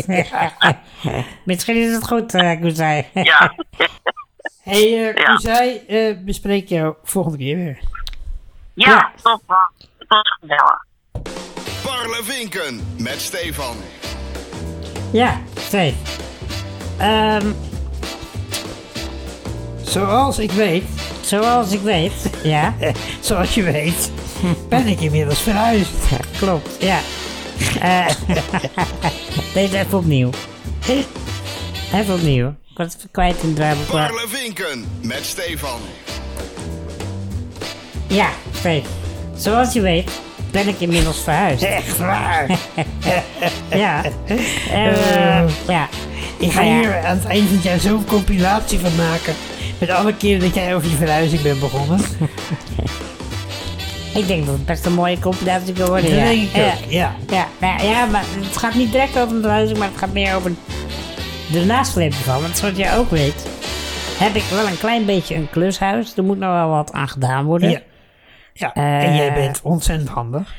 Speaker 2: Misschien is het goed, eh Koezij.
Speaker 5: Ja.
Speaker 1: hey, eh
Speaker 5: Ja.
Speaker 1: Kuzai, eh, bespreek jou volgende keer weer.
Speaker 5: Ja, top man. Tot gezellig.
Speaker 4: Parlevinken met Stefan.
Speaker 2: ja, Steve. Ehm,
Speaker 1: Zoals ik weet,
Speaker 2: zoals ik weet, ja,
Speaker 1: zoals je weet, ben ik inmiddels verhuisd.
Speaker 2: klopt, ja. Eh, deze even opnieuw. Even opnieuw. Ik was even kwijt in het draaiboek, maar-
Speaker 4: Parlevinken met Stefan.
Speaker 2: Ja, Steve. Zoals je weet, ben ik inmiddels verhuisd.
Speaker 1: Echt waar.
Speaker 2: Ja. En, eh, ja.
Speaker 1: Ik ga
Speaker 2: Maar ja.
Speaker 1: hier aan het eind van het jaar zo'n compilatie van maken. Met alle keren dat jij over je verhuizing bent begonnen.
Speaker 2: Ik denk dat het best een mooie compilatie kan worden.
Speaker 1: Dat
Speaker 2: ja.
Speaker 1: denk ik ook, ja.
Speaker 2: Ja, nou ja, maar het gaat niet direct over de huizing, maar het gaat meer over de nasleep ervan. Want zoals jij ook weet, heb ik wel een klein beetje een klushuis. Er moet nog wel wat aan gedaan worden.
Speaker 1: Ja. ja. en jij
Speaker 2: Eh.
Speaker 1: bent ontzettend handig.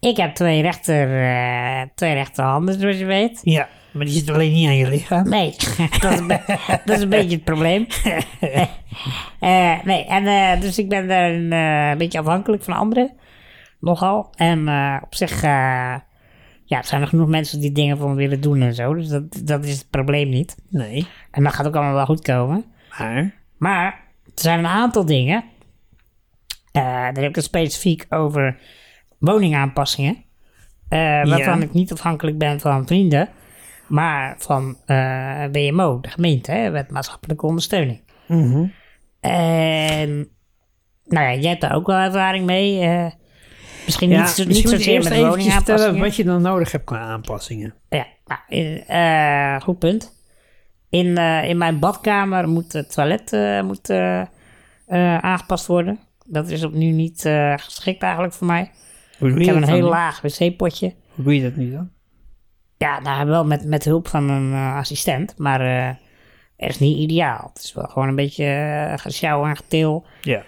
Speaker 2: Ik heb twee, rechter, eh, twee rechterhanden, zoals je weet.
Speaker 1: Ja, maar die zit alleen niet aan je lichaam.
Speaker 2: Nee, dat, is een be- dat is een beetje het probleem. Eh, nee, en, eh, dus ik ben daar een eh, beetje afhankelijk van anderen. Nogal. En eh, op zich eh, ja, er zijn er genoeg mensen die dingen van willen doen en zo. Dus dat, dat is het probleem niet.
Speaker 1: Nee,
Speaker 2: En dat gaat ook allemaal wel goed komen.
Speaker 1: maar...
Speaker 2: Maar er zijn een aantal dingen. Eh, daar heb ik het specifiek over woningaanpassingen. Eh, waarvan
Speaker 1: Ja.
Speaker 2: ik niet afhankelijk ben van vrienden. Maar van eh WMO, de gemeente, hè, wet maatschappelijke ondersteuning.
Speaker 1: Mhm.
Speaker 2: En nou ja, jij hebt daar ook wel ervaring mee. eh, misschien
Speaker 1: Ja,
Speaker 2: niet, zo, niet
Speaker 1: misschien moet je
Speaker 2: zozeer
Speaker 1: eerst
Speaker 2: met
Speaker 1: eventjes vertellen
Speaker 2: woningaanpassingen.
Speaker 1: wat je dan nodig hebt qua aanpassingen.
Speaker 2: Ja, nou, in, eh, goed punt. In, eh, in mijn badkamer moet het toilet eh, moet, eh, eh, aangepast worden. Dat is op nu niet eh, geschikt eigenlijk voor mij.
Speaker 1: Hoe doe
Speaker 2: Ik
Speaker 1: je
Speaker 2: heb een
Speaker 1: dat
Speaker 2: heel
Speaker 1: dan?
Speaker 2: laag wc-potje.
Speaker 1: Hoe doe je dat nu dan?
Speaker 2: Ja, nou wel met, met hulp van een eh, assistent, maar eh het is niet ideaal. Het is wel gewoon een beetje eh, gesjouw en getil.
Speaker 1: Ja.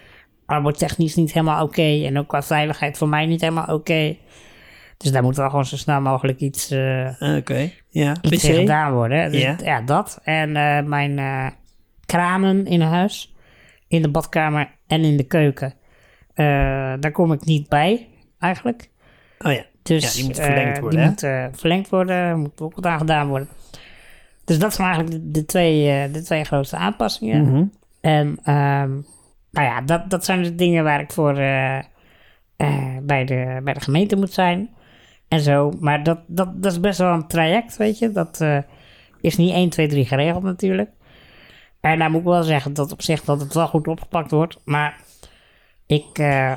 Speaker 2: Arbotechnisch niet helemaal oké en ook qua veiligheid voor mij niet helemaal oké. Dus daar moet wel gewoon zo snel mogelijk iets, eh,
Speaker 1: Ah, Oké. Ja.
Speaker 2: iets tegen gedaan worden. Dus
Speaker 1: Ja.
Speaker 2: ja. dat. En eh, mijn eh, kranen in huis, in de badkamer en in de keuken, eh, daar kom ik niet bij eigenlijk.
Speaker 1: Oh ja.
Speaker 2: Dus,
Speaker 1: ja, die moet
Speaker 2: eh,
Speaker 1: verlengd worden.
Speaker 2: Die
Speaker 1: hè?
Speaker 2: moet eh, verlengd worden, moet ook wat aan gedaan worden. Dus dat zijn eigenlijk de, de twee, eh, de twee grootste aanpassingen.
Speaker 1: Mhm.
Speaker 2: En ehm, nou ja, dat, dat zijn de dingen waar ik voor eh, eh, bij, de, bij de gemeente moet zijn. En zo. Maar dat, dat, dat is best wel een traject, weet je. Dat eh, is niet 1, 2, 3 geregeld natuurlijk. En daar moet ik wel zeggen dat op zich dat het wel goed opgepakt wordt. Maar ik, eh,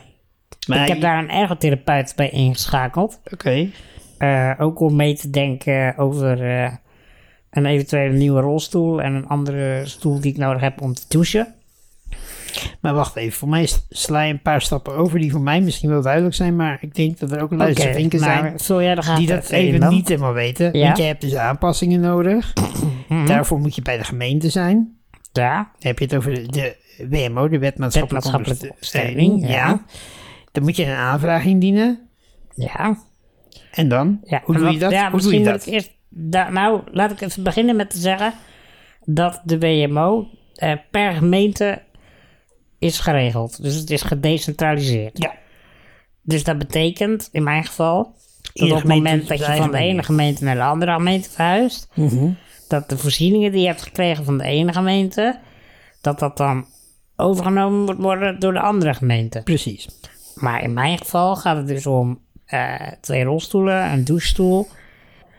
Speaker 1: Maar
Speaker 2: ik heb
Speaker 1: je-
Speaker 2: daar een ergotherapeut bij ingeschakeld.
Speaker 1: Oké.
Speaker 2: Eh, ook om mee te denken over eh, een eventuele nieuwe rolstoel en een andere stoel die ik nodig heb om te douchen.
Speaker 1: Maar wacht even, voor mij s- sla je een paar stappen over die voor mij misschien wel duidelijk zijn, maar ik denk dat er ook luistervinken
Speaker 2: nou,
Speaker 1: zijn
Speaker 2: vul jij de gaten
Speaker 1: die dat
Speaker 2: even in
Speaker 1: even
Speaker 2: dan?
Speaker 1: niet helemaal weten.
Speaker 2: Ja. Mhm.
Speaker 1: Want je hebt dus aanpassingen nodig. Daarvoor moet je bij de gemeente zijn.
Speaker 2: Ja,
Speaker 1: Dan heb je het over de, de WMO, de Wet Maatschappelijke
Speaker 2: Maatschappelijke
Speaker 1: Ondersteuning.
Speaker 2: Ondersteuning,
Speaker 1: Ja.
Speaker 2: ja.
Speaker 1: Dan moet je een aanvraag indienen.
Speaker 2: ja.
Speaker 1: En dan?
Speaker 2: ja.
Speaker 1: Hoe doe
Speaker 2: Wat-
Speaker 1: je dat?
Speaker 2: Ja,
Speaker 1: Hoe doe je
Speaker 2: misschien moet
Speaker 1: dat?
Speaker 2: ik eerst... da- nou, laat ik even beginnen met te zeggen dat de WMO eh, per gemeente is geregeld. Dus het is gedecentraliseerd.
Speaker 1: Ja.
Speaker 2: Dus dat betekent, in mijn geval, dat
Speaker 1: Iedere
Speaker 2: op het
Speaker 1: gemeente
Speaker 2: moment
Speaker 1: op
Speaker 2: dat je
Speaker 1: zijn eigen
Speaker 2: van de ene
Speaker 1: manier.
Speaker 2: gemeente naar de andere gemeente verhuist,
Speaker 1: Mhm.
Speaker 2: dat de voorzieningen die je hebt gekregen van de ene gemeente, dat dat dan overgenomen moet worden door de andere gemeente.
Speaker 1: Precies.
Speaker 2: Maar in mijn geval gaat het dus om eh, twee rolstoelen, een douchestoel.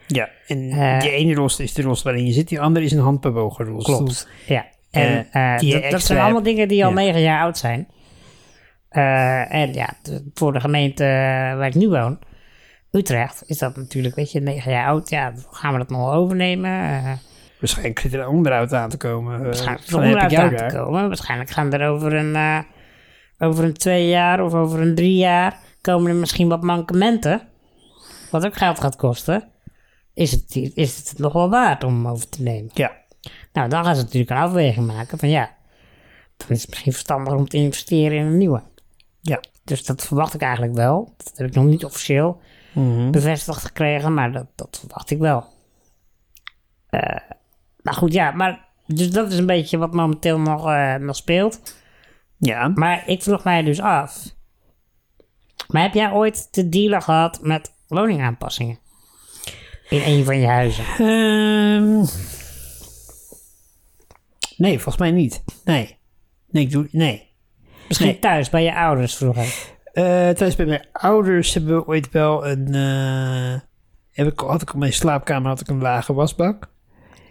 Speaker 1: Ja, en
Speaker 2: Eh.
Speaker 1: die ene rolstoel is de rolstoel waarin je zit, die andere is een handbewogen rolstoel.
Speaker 2: Ja. En
Speaker 1: Eh,
Speaker 2: eh,
Speaker 1: die je
Speaker 2: dat, dat
Speaker 1: extra
Speaker 2: zijn allemaal
Speaker 1: hebt.
Speaker 2: dingen die al
Speaker 1: Ja.
Speaker 2: negen jaar oud zijn. Eh, en ja, t- voor de gemeente eh, waar ik nu woon, Utrecht, is dat natuurlijk, weet je, negen jaar oud. Ja, gaan we dat nog wel overnemen? Eh,
Speaker 1: Waarschijnlijk zit er een onderhoud aan te komen. eh,
Speaker 2: waarschijnlijk
Speaker 1: van,
Speaker 2: zal
Speaker 1: heb
Speaker 2: er
Speaker 1: ik jou
Speaker 2: uit
Speaker 1: daar?
Speaker 2: te komen. Waarschijnlijk gaan er over een, eh, over een twee jaar of over een drie jaar komen er misschien wat mankementen. Wat ook geld gaat kosten. Is het, is het nog wel waard om over te nemen?
Speaker 1: Ja,
Speaker 2: Nou, dan gaan ze natuurlijk een afweging maken van ja, dan is het misschien verstandig om te investeren in een nieuwe.
Speaker 1: ja.
Speaker 2: Dus dat verwacht ik eigenlijk wel. Dat heb ik nog niet officieel bevestigd gekregen, maar dat, dat verwacht ik wel. Eh, maar goed, ja, maar, dus dat is een beetje wat momenteel nog, eh, nog speelt.
Speaker 1: Ja,
Speaker 2: Maar ik vroeg mij dus af, maar heb jij ooit te dealen gehad met woningaanpassingen? In een van je huizen?
Speaker 1: Ehm, nee, volgens mij niet. Nee. Nee, ik doe... Nee.
Speaker 2: Misschien
Speaker 1: Nee.
Speaker 2: thuis, bij je ouders vroeger?
Speaker 1: Eh, thuis bij mijn ouders hebben we ooit wel een... eh, heb ik, had ik op mijn slaapkamer had ik een lage wasbak.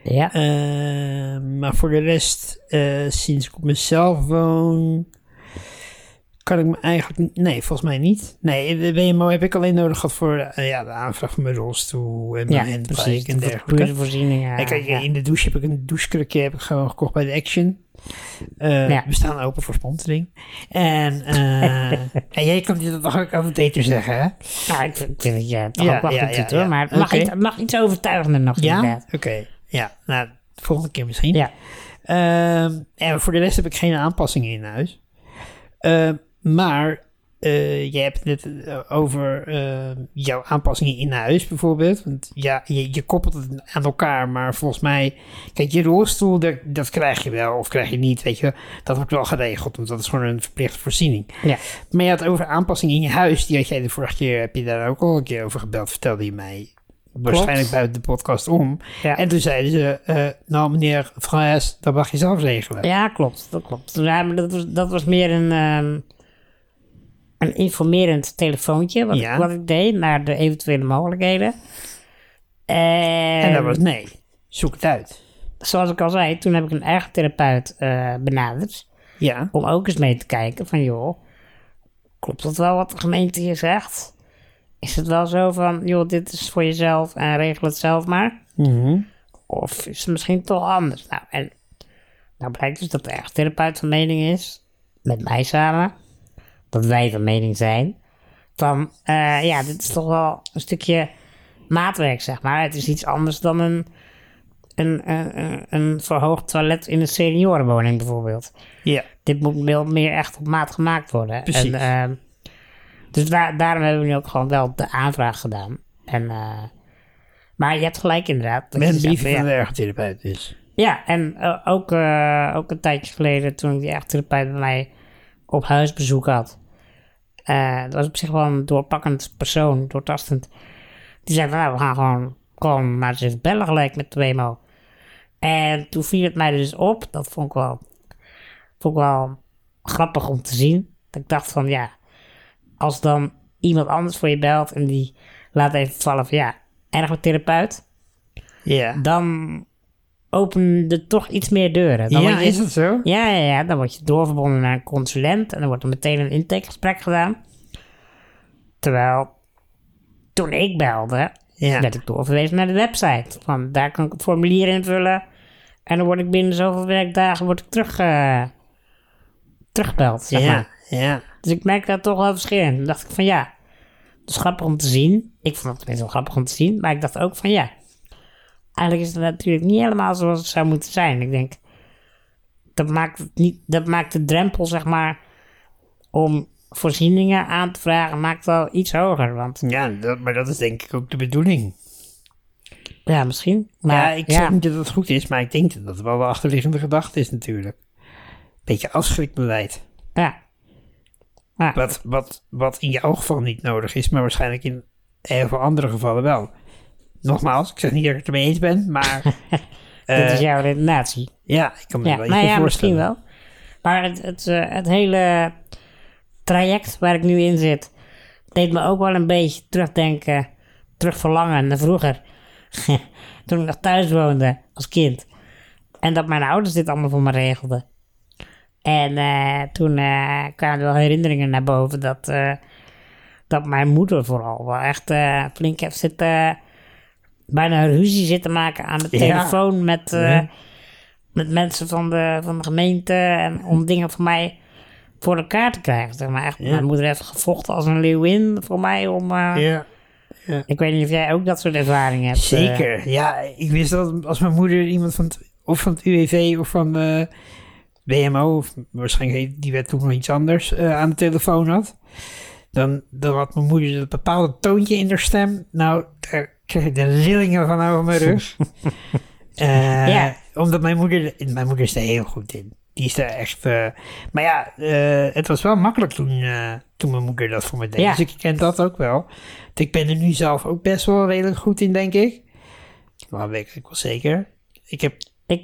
Speaker 2: Ja.
Speaker 1: Eh, maar voor de rest, eh, sinds ik op mezelf woon... Kan ik me eigenlijk... n- Nee, volgens mij niet. Nee, eh, de WMO heb ik alleen nodig gehad voor eh, ja, de aanvraag van mijn rolstoel en mijn
Speaker 2: Ja,
Speaker 1: handbike
Speaker 2: precies.
Speaker 1: en
Speaker 2: de
Speaker 1: dergelijke.
Speaker 2: voorzieningen.
Speaker 1: Ja, kijk,
Speaker 2: ja.
Speaker 1: in de douche heb ik een douchekrukje heb ik gewoon gekocht bij de Action. Eh,
Speaker 2: Ja.
Speaker 1: We staan open voor sponsoring. En, eh, en jij kan dit toch ook altijd beter zeggen, hè?
Speaker 2: Nou, ik vind, ik vind dat je het
Speaker 1: Ja,
Speaker 2: ook wel
Speaker 1: ja,
Speaker 2: goed
Speaker 1: ja,
Speaker 2: doet, hoor.
Speaker 1: ja.
Speaker 2: Maar het mag,
Speaker 1: Oké.
Speaker 2: iets, het mag iets overtuigender nog,
Speaker 1: Ja?
Speaker 2: inderdaad.
Speaker 1: Oké. Ja, nou, de volgende keer misschien.
Speaker 2: Ja.
Speaker 1: Ehm, en voor de rest heb ik geen aanpassingen in huis. Ehm, maar eh, je hebt het eh, over ehm, jouw aanpassingen in huis bijvoorbeeld. Want ja, je, je koppelt het aan elkaar, maar volgens mij... Kijk, je rolstoel, dat, dat krijg je wel of krijg je niet, weet je. Dat wordt wel geregeld, want dat is gewoon een verplichte voorziening.
Speaker 2: Ja.
Speaker 1: Maar je had over aanpassingen in je huis. Die had jij de vorige keer, heb je daar ook al een keer over gebeld, vertelde je mij. Waarschijnlijk buiten de podcast om.
Speaker 2: Ja.
Speaker 1: En toen zeiden ze, eh, nou meneer Frans, dat mag je zelf regelen.
Speaker 2: Ja, klopt. Dat klopt. Ja, maar dat, was, dat was meer een, ehm, een informerend telefoontje wat,
Speaker 1: Ja.
Speaker 2: ik, wat ik deed naar de eventuele mogelijkheden. En,
Speaker 1: En dat was nee, zoek het uit.
Speaker 2: zoals ik al zei, toen heb ik een eigen therapeut eh, benaderd.
Speaker 1: Ja,
Speaker 2: om ook eens mee te kijken van joh, klopt dat wel wat de gemeente hier zegt? Is het wel zo van joh, dit is voor jezelf en regel het zelf maar? Of is het misschien toch anders? Nou, en nou blijkt dus dat de echt therapeut van mening is met mij samen, dat wij van mening zijn, dan, eh, ja, dit is toch wel een stukje maatwerk, zeg maar. Het is iets anders dan een, een, een, een- een verhoogd toilet in een seniorenwoning, bijvoorbeeld.
Speaker 1: Ja.
Speaker 2: Dit moet wel meer echt op maat gemaakt worden.
Speaker 1: Precies.
Speaker 2: En, ehm, dus da- daarom hebben we nu ook gewoon wel de aanvraag gedaan. En, eh, maar je hebt gelijk inderdaad. dat
Speaker 1: Met
Speaker 2: je
Speaker 1: een
Speaker 2: zegt,
Speaker 1: briefje
Speaker 2: ja.
Speaker 1: van de ergotherapeut dus.
Speaker 2: Ja, en eh, ook, eh, ook een tijdje geleden toen ik die echttherapeut bij mij op huis bezoek had. Eh, dat was op zich wel een doorpakkend persoon, doortastend. Die zei van nou, we gaan gewoon, gewoon maar eens even bellen gelijk met Wemo. En toen viel het mij dus op, dat vond ik wel, vond ik wel grappig om te zien. Dat ik dacht van ja, als dan iemand anders voor je belt en die laat even vallen van ja, ergotherapeut
Speaker 1: Ja.
Speaker 2: dan opende toch iets meer deuren. Dan
Speaker 1: ja,
Speaker 2: word je- dus-
Speaker 1: is dat zo?
Speaker 2: Ja, ja, ja, dan word je doorverbonden naar een consulent en dan wordt er meteen een intakegesprek gedaan. Terwijl, toen ik belde,
Speaker 1: Ja.
Speaker 2: werd ik doorverwezen naar de website. Van, daar kan ik het formulier invullen en dan word ik binnen zoveel werkdagen word ik terug, eh, teruggebeld, zeg maar.
Speaker 1: Ja, ja.
Speaker 2: Dus ik merk daar toch wel verschil in. Toen dacht ik van ja, dat is grappig om te zien. Ik vond het best wel grappig om te zien. Maar ik dacht ook van ja, eigenlijk is het natuurlijk niet helemaal zoals het zou moeten zijn. Ik denk, dat maakt, het niet, dat maakt de drempel zeg maar om voorzieningen aan te vragen, maakt wel iets hoger. Want
Speaker 1: Ja, dat, maar dat is denk ik ook de bedoeling.
Speaker 2: ja, misschien. Maar
Speaker 1: Ja,
Speaker 2: ja,
Speaker 1: ik zeg niet dat het goed is, maar ik denk dat dat wel de achterliggende gedachte is natuurlijk. Beetje afschrikbeleid.
Speaker 2: ja. Ja.
Speaker 1: Wat, wat, wat in jouw geval niet nodig is, maar waarschijnlijk in heel veel andere gevallen wel. Nogmaals, ik zeg niet dat ik het ermee eens ben, maar
Speaker 2: dit
Speaker 1: eh,
Speaker 2: is jouw redenatie.
Speaker 1: ja, ik kan me
Speaker 2: Ja,
Speaker 1: er wel iets
Speaker 2: nou
Speaker 1: bij
Speaker 2: ja, misschien
Speaker 1: voorstellen.
Speaker 2: wel. Maar het, het, eh, het hele traject waar ik nu in zit, deed me ook wel een beetje terugdenken, terugverlangen naar vroeger. Toen ik nog thuis woonde als kind. En dat mijn ouders dit allemaal voor me regelden. En eh, toen eh, kwamen er wel herinneringen naar boven dat, eh, dat mijn moeder vooral wel echt eh, flink heeft zitten. Bijna ruzie zitten maken aan de
Speaker 1: Ja.
Speaker 2: telefoon met, eh,
Speaker 1: Ja.
Speaker 2: met mensen van de, van de gemeente. En om dingen voor mij voor elkaar te krijgen. Zeg maar. echt, Mijn moeder heeft gevochten als een leeuwin voor mij. Om, eh,
Speaker 1: Ja,
Speaker 2: Ik weet niet of jij ook dat soort ervaringen hebt. eh.
Speaker 1: zeker. Ja, ik wist dat als mijn moeder iemand van het, of van het UWV of van eh WMO, of waarschijnlijk heet- die werd toen nog iets anders, eh, aan de telefoon had, dan, dan had mijn moeder dat bepaalde toontje in haar stem. Nou, daar kreeg ik de rillingen van over mijn rug. Eh,
Speaker 2: Ja.
Speaker 1: Omdat mijn moeder, mijn moeder is daar heel goed in. Die is daar echt. eh, maar ja, eh, het was wel makkelijk toen, eh, toen mijn moeder dat voor me deed.
Speaker 2: Ja.
Speaker 1: Dus ik ken dat ook wel. Want Ik ben er nu zelf ook best wel redelijk goed in, denk ik. Maar weet ik wel zeker. Ik heb
Speaker 2: Ik,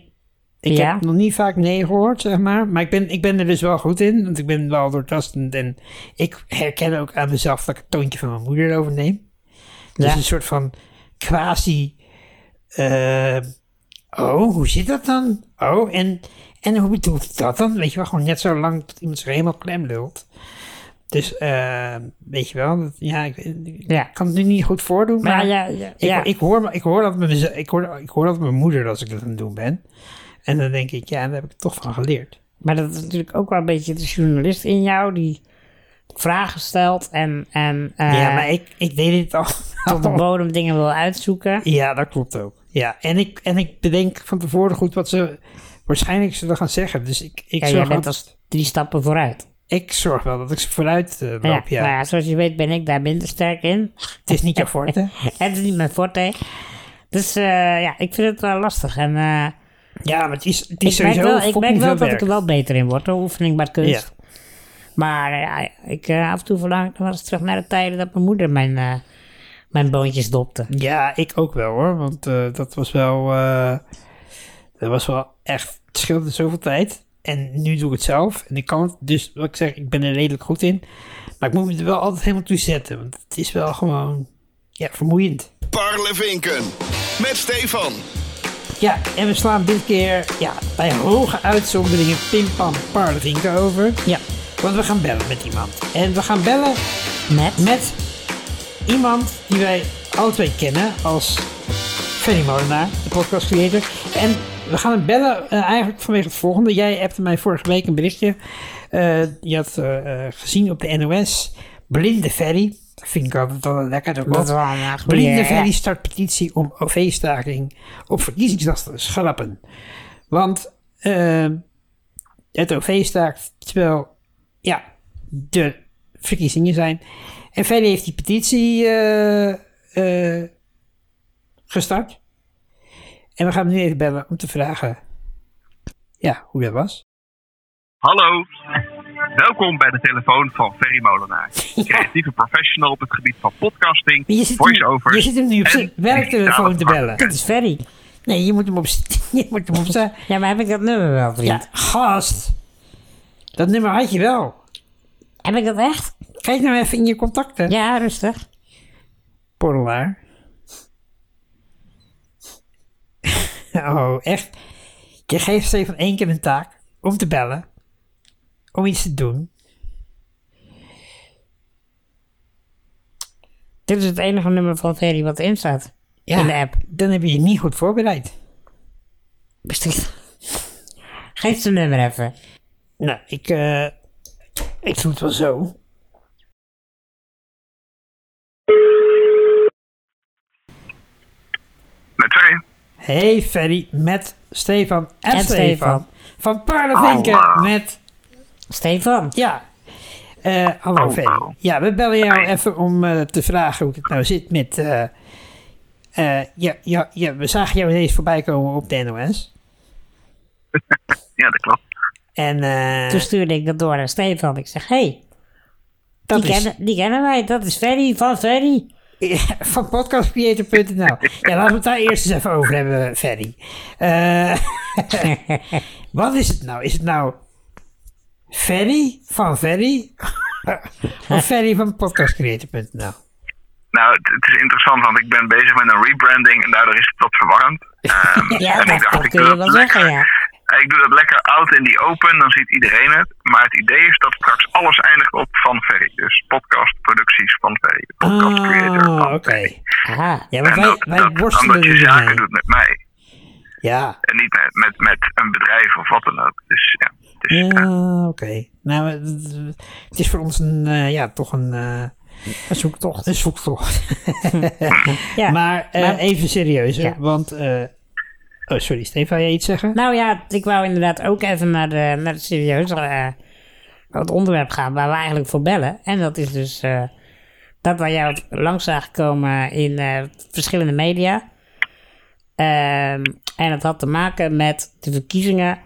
Speaker 1: ik
Speaker 2: ja.
Speaker 1: heb nog niet vaak nee gehoord, zeg maar. Maar ik ben, ik ben er dus wel goed in. Want ik ben wel doortastend. En ik herken ook aan mezelf dat ik het toontje van mijn moeder overneem. Dus
Speaker 2: Ja.
Speaker 1: een soort van quasi... eh, oh, hoe zit dat dan? Oh, en, en hoe bedoelt hij dat dan? Weet je wel, gewoon net zo lang tot iemand zich helemaal klem lult. Dus, eh, weet je wel, dat- ja, ik, ik
Speaker 2: Ja.
Speaker 1: kan het nu niet goed voordoen. Maar,
Speaker 2: Maar ja, ja,
Speaker 1: ik,
Speaker 2: ja.
Speaker 1: ik, hoor, me- ik, hoor dat met mez- ik, hoor, ik hoor dat met mijn moeder als ik dat aan het doen ben. En dan denk ik, ja, daar heb ik toch van geleerd.
Speaker 2: Maar dat is natuurlijk ook wel een beetje de journalist in jou die vragen stelt en, en eh,
Speaker 1: ja, maar ik, ik deed dit al.
Speaker 2: tot de bodem dingen wil uitzoeken.
Speaker 1: ja, dat klopt ook. Ja, en ik, en ik bedenk van tevoren goed wat ze waarschijnlijk zullen gaan zeggen. Dus ik, ik,
Speaker 2: Ja, jij
Speaker 1: zorg,
Speaker 2: bent
Speaker 1: wel-
Speaker 2: als drie stappen vooruit.
Speaker 1: ik zorg wel dat ik ze vooruit eh,
Speaker 2: Ja,
Speaker 1: loop. Ja,
Speaker 2: Maar ja, zoals je weet ben ik daar minder sterk in.
Speaker 1: Het is niet jouw forte.
Speaker 2: Het is niet mijn forte. Dus eh, ja, ik vind het wel lastig. En, eh,
Speaker 1: Ja, maar het is, het is
Speaker 2: ik merk
Speaker 1: sowieso
Speaker 2: wel, ik merk
Speaker 1: fucking
Speaker 2: wel
Speaker 1: veel
Speaker 2: dat ik
Speaker 1: werk.
Speaker 2: er wel beter in word, hoor. oefening bij kunst.
Speaker 1: Ja.
Speaker 2: Maar eh, ja, ik, eh, af en toe verlang ik nog wel eens terug naar de tijden dat mijn moeder mijn, eh, mijn boontjes dopte.
Speaker 1: Ja, ik ook wel hoor. Want eh, dat was wel. eh, dat was wel echt. Het scheelde zoveel tijd. En nu doe ik het zelf. En ik kan het. Dus wat ik zeg, ik ben er redelijk goed in. Maar ik moet me er wel altijd helemaal toe zetten. Want het is wel gewoon. Ja, vermoeiend.
Speaker 4: Parlevinken met Stefan.
Speaker 1: Ja, en we slaan dit keer. Ja, bij hoge uitzonderingen. Pim Pam Parlevinken over.
Speaker 2: Ja,
Speaker 1: Want we gaan bellen met iemand. En we gaan bellen
Speaker 2: met?
Speaker 1: met iemand die wij alle twee kennen als Ferry Molenaar, de podcastcreator. En we gaan hem bellen eh, eigenlijk vanwege het volgende. Jij appte mij vorige week een berichtje. Eh, je had eh, eh, gezien op de NOS Blinde Ferry. Dat vind ik altijd wel een lekker.
Speaker 2: Dat is wel een, eh, goeie,
Speaker 1: Blinde
Speaker 2: ja.
Speaker 1: Ferry start petitie om OV-staking op verkiezingsdag te schrappen. Want eh, het OV staakt terwijl ja, de verkiezingen zijn. En Ferry heeft die petitie eh, eh, gestart. En we gaan hem nu even bellen om te vragen ja, hoe dat was.
Speaker 6: Hallo, welkom bij de telefoon van Ferry Molenaar. Creatieve professional op het gebied van podcasting,
Speaker 1: Maar je zit, hem,
Speaker 6: voice-overs...
Speaker 1: je zit hem nu op
Speaker 6: en
Speaker 1: zijn werktelefoon te
Speaker 6: digitale
Speaker 1: bellen.
Speaker 2: Dat is Ferry.
Speaker 1: Nee, je moet hem op, z- je moet hem op zijn...
Speaker 2: Ja, maar heb ik dat nummer wel, vriend?
Speaker 1: Ja, gast. Dat nummer had je wel.
Speaker 2: Heb ik dat echt?
Speaker 1: Kijk nou even in je contacten.
Speaker 2: Ja, rustig.
Speaker 1: Porrelaar. oh, echt. Je geeft Stefan één keer een taak om te bellen. Om iets te doen.
Speaker 2: Dit is het enige nummer van Ferry wat erin staat. In de app.
Speaker 1: Dan heb je je niet goed voorbereid.
Speaker 2: Beschikt. Geef zijn nummer even.
Speaker 1: Nou, ik, eh, ik doe het wel zo.
Speaker 6: Met Ferry.
Speaker 1: Hey Ferry, met Stefan en,
Speaker 2: En
Speaker 1: Stefan.
Speaker 2: Stefan.
Speaker 1: Van Parlevinken met...
Speaker 2: Stefan.
Speaker 1: Ja. Eh, hallo
Speaker 6: Oh,
Speaker 1: Ferry.
Speaker 6: oh.
Speaker 1: Ja, we bellen jou even om eh, te vragen hoe het nou zit met... eh, eh, ja, ja, ja, we zagen jou ineens voorbij komen op de NOS.
Speaker 6: Ja, dat klopt.
Speaker 1: En eh,
Speaker 6: Dus
Speaker 2: Toen stuurde ik dat door aan Stefan. Ik zeg, hé, hey,
Speaker 1: dat
Speaker 2: die,
Speaker 1: is
Speaker 2: kennen, die kennen wij. Dat is Ferry van Ferry.
Speaker 1: van podcastcreator.nl. ja, laten we het daar eerst eens even over hebben, Ferry. Eh, wat is het nou? Is het nou Ferry van Ferry? of Ferry van podcastcreator.nl?
Speaker 6: Nou, het, het is interessant, want ik ben bezig met een rebranding en daardoor is het wat verwarrend. Ehm,
Speaker 2: Ja,
Speaker 6: en
Speaker 2: dat,
Speaker 6: ik dacht,
Speaker 2: dat
Speaker 6: ik
Speaker 2: kun
Speaker 6: doe
Speaker 2: je
Speaker 6: dat
Speaker 2: wel zeggen, ja.
Speaker 6: Ik doe dat lekker out in die open, dan ziet iedereen het. Maar het idee is dat straks alles eindigt op van Ferry. Dus podcastproducties van Ferry. Podcast creator
Speaker 1: Ah, oké.
Speaker 6: van Ferry.
Speaker 2: Aha.
Speaker 1: Ja, want
Speaker 6: En
Speaker 1: wij,
Speaker 6: dat,
Speaker 1: wij
Speaker 6: dat-
Speaker 1: worstelen
Speaker 6: omdat je
Speaker 1: er
Speaker 6: zaken
Speaker 1: mee.
Speaker 6: doet met mij.
Speaker 1: Ja,
Speaker 6: En niet met, met, met een bedrijf of wat dan ook. Dus ja, het is, eh,
Speaker 1: ja oké. Nou, het- het is voor ons een, eh, ja, toch een, eh,
Speaker 2: Een zoektocht.
Speaker 1: een zoektocht.
Speaker 2: Ja.
Speaker 1: maar eh,
Speaker 2: maar-
Speaker 1: even serieus, hè,
Speaker 2: Ja.
Speaker 1: want... eh, oh, sorry, Stefan, jij iets zeggen?
Speaker 2: Nou ja, ik wou inderdaad ook even naar, de, naar het serieuze eh, het onderwerp gaan waar we eigenlijk voor bellen. En dat is dus eh, dat wij jou langs zagen komen in eh, verschillende media. Ehm, en het had te maken met de verkiezingen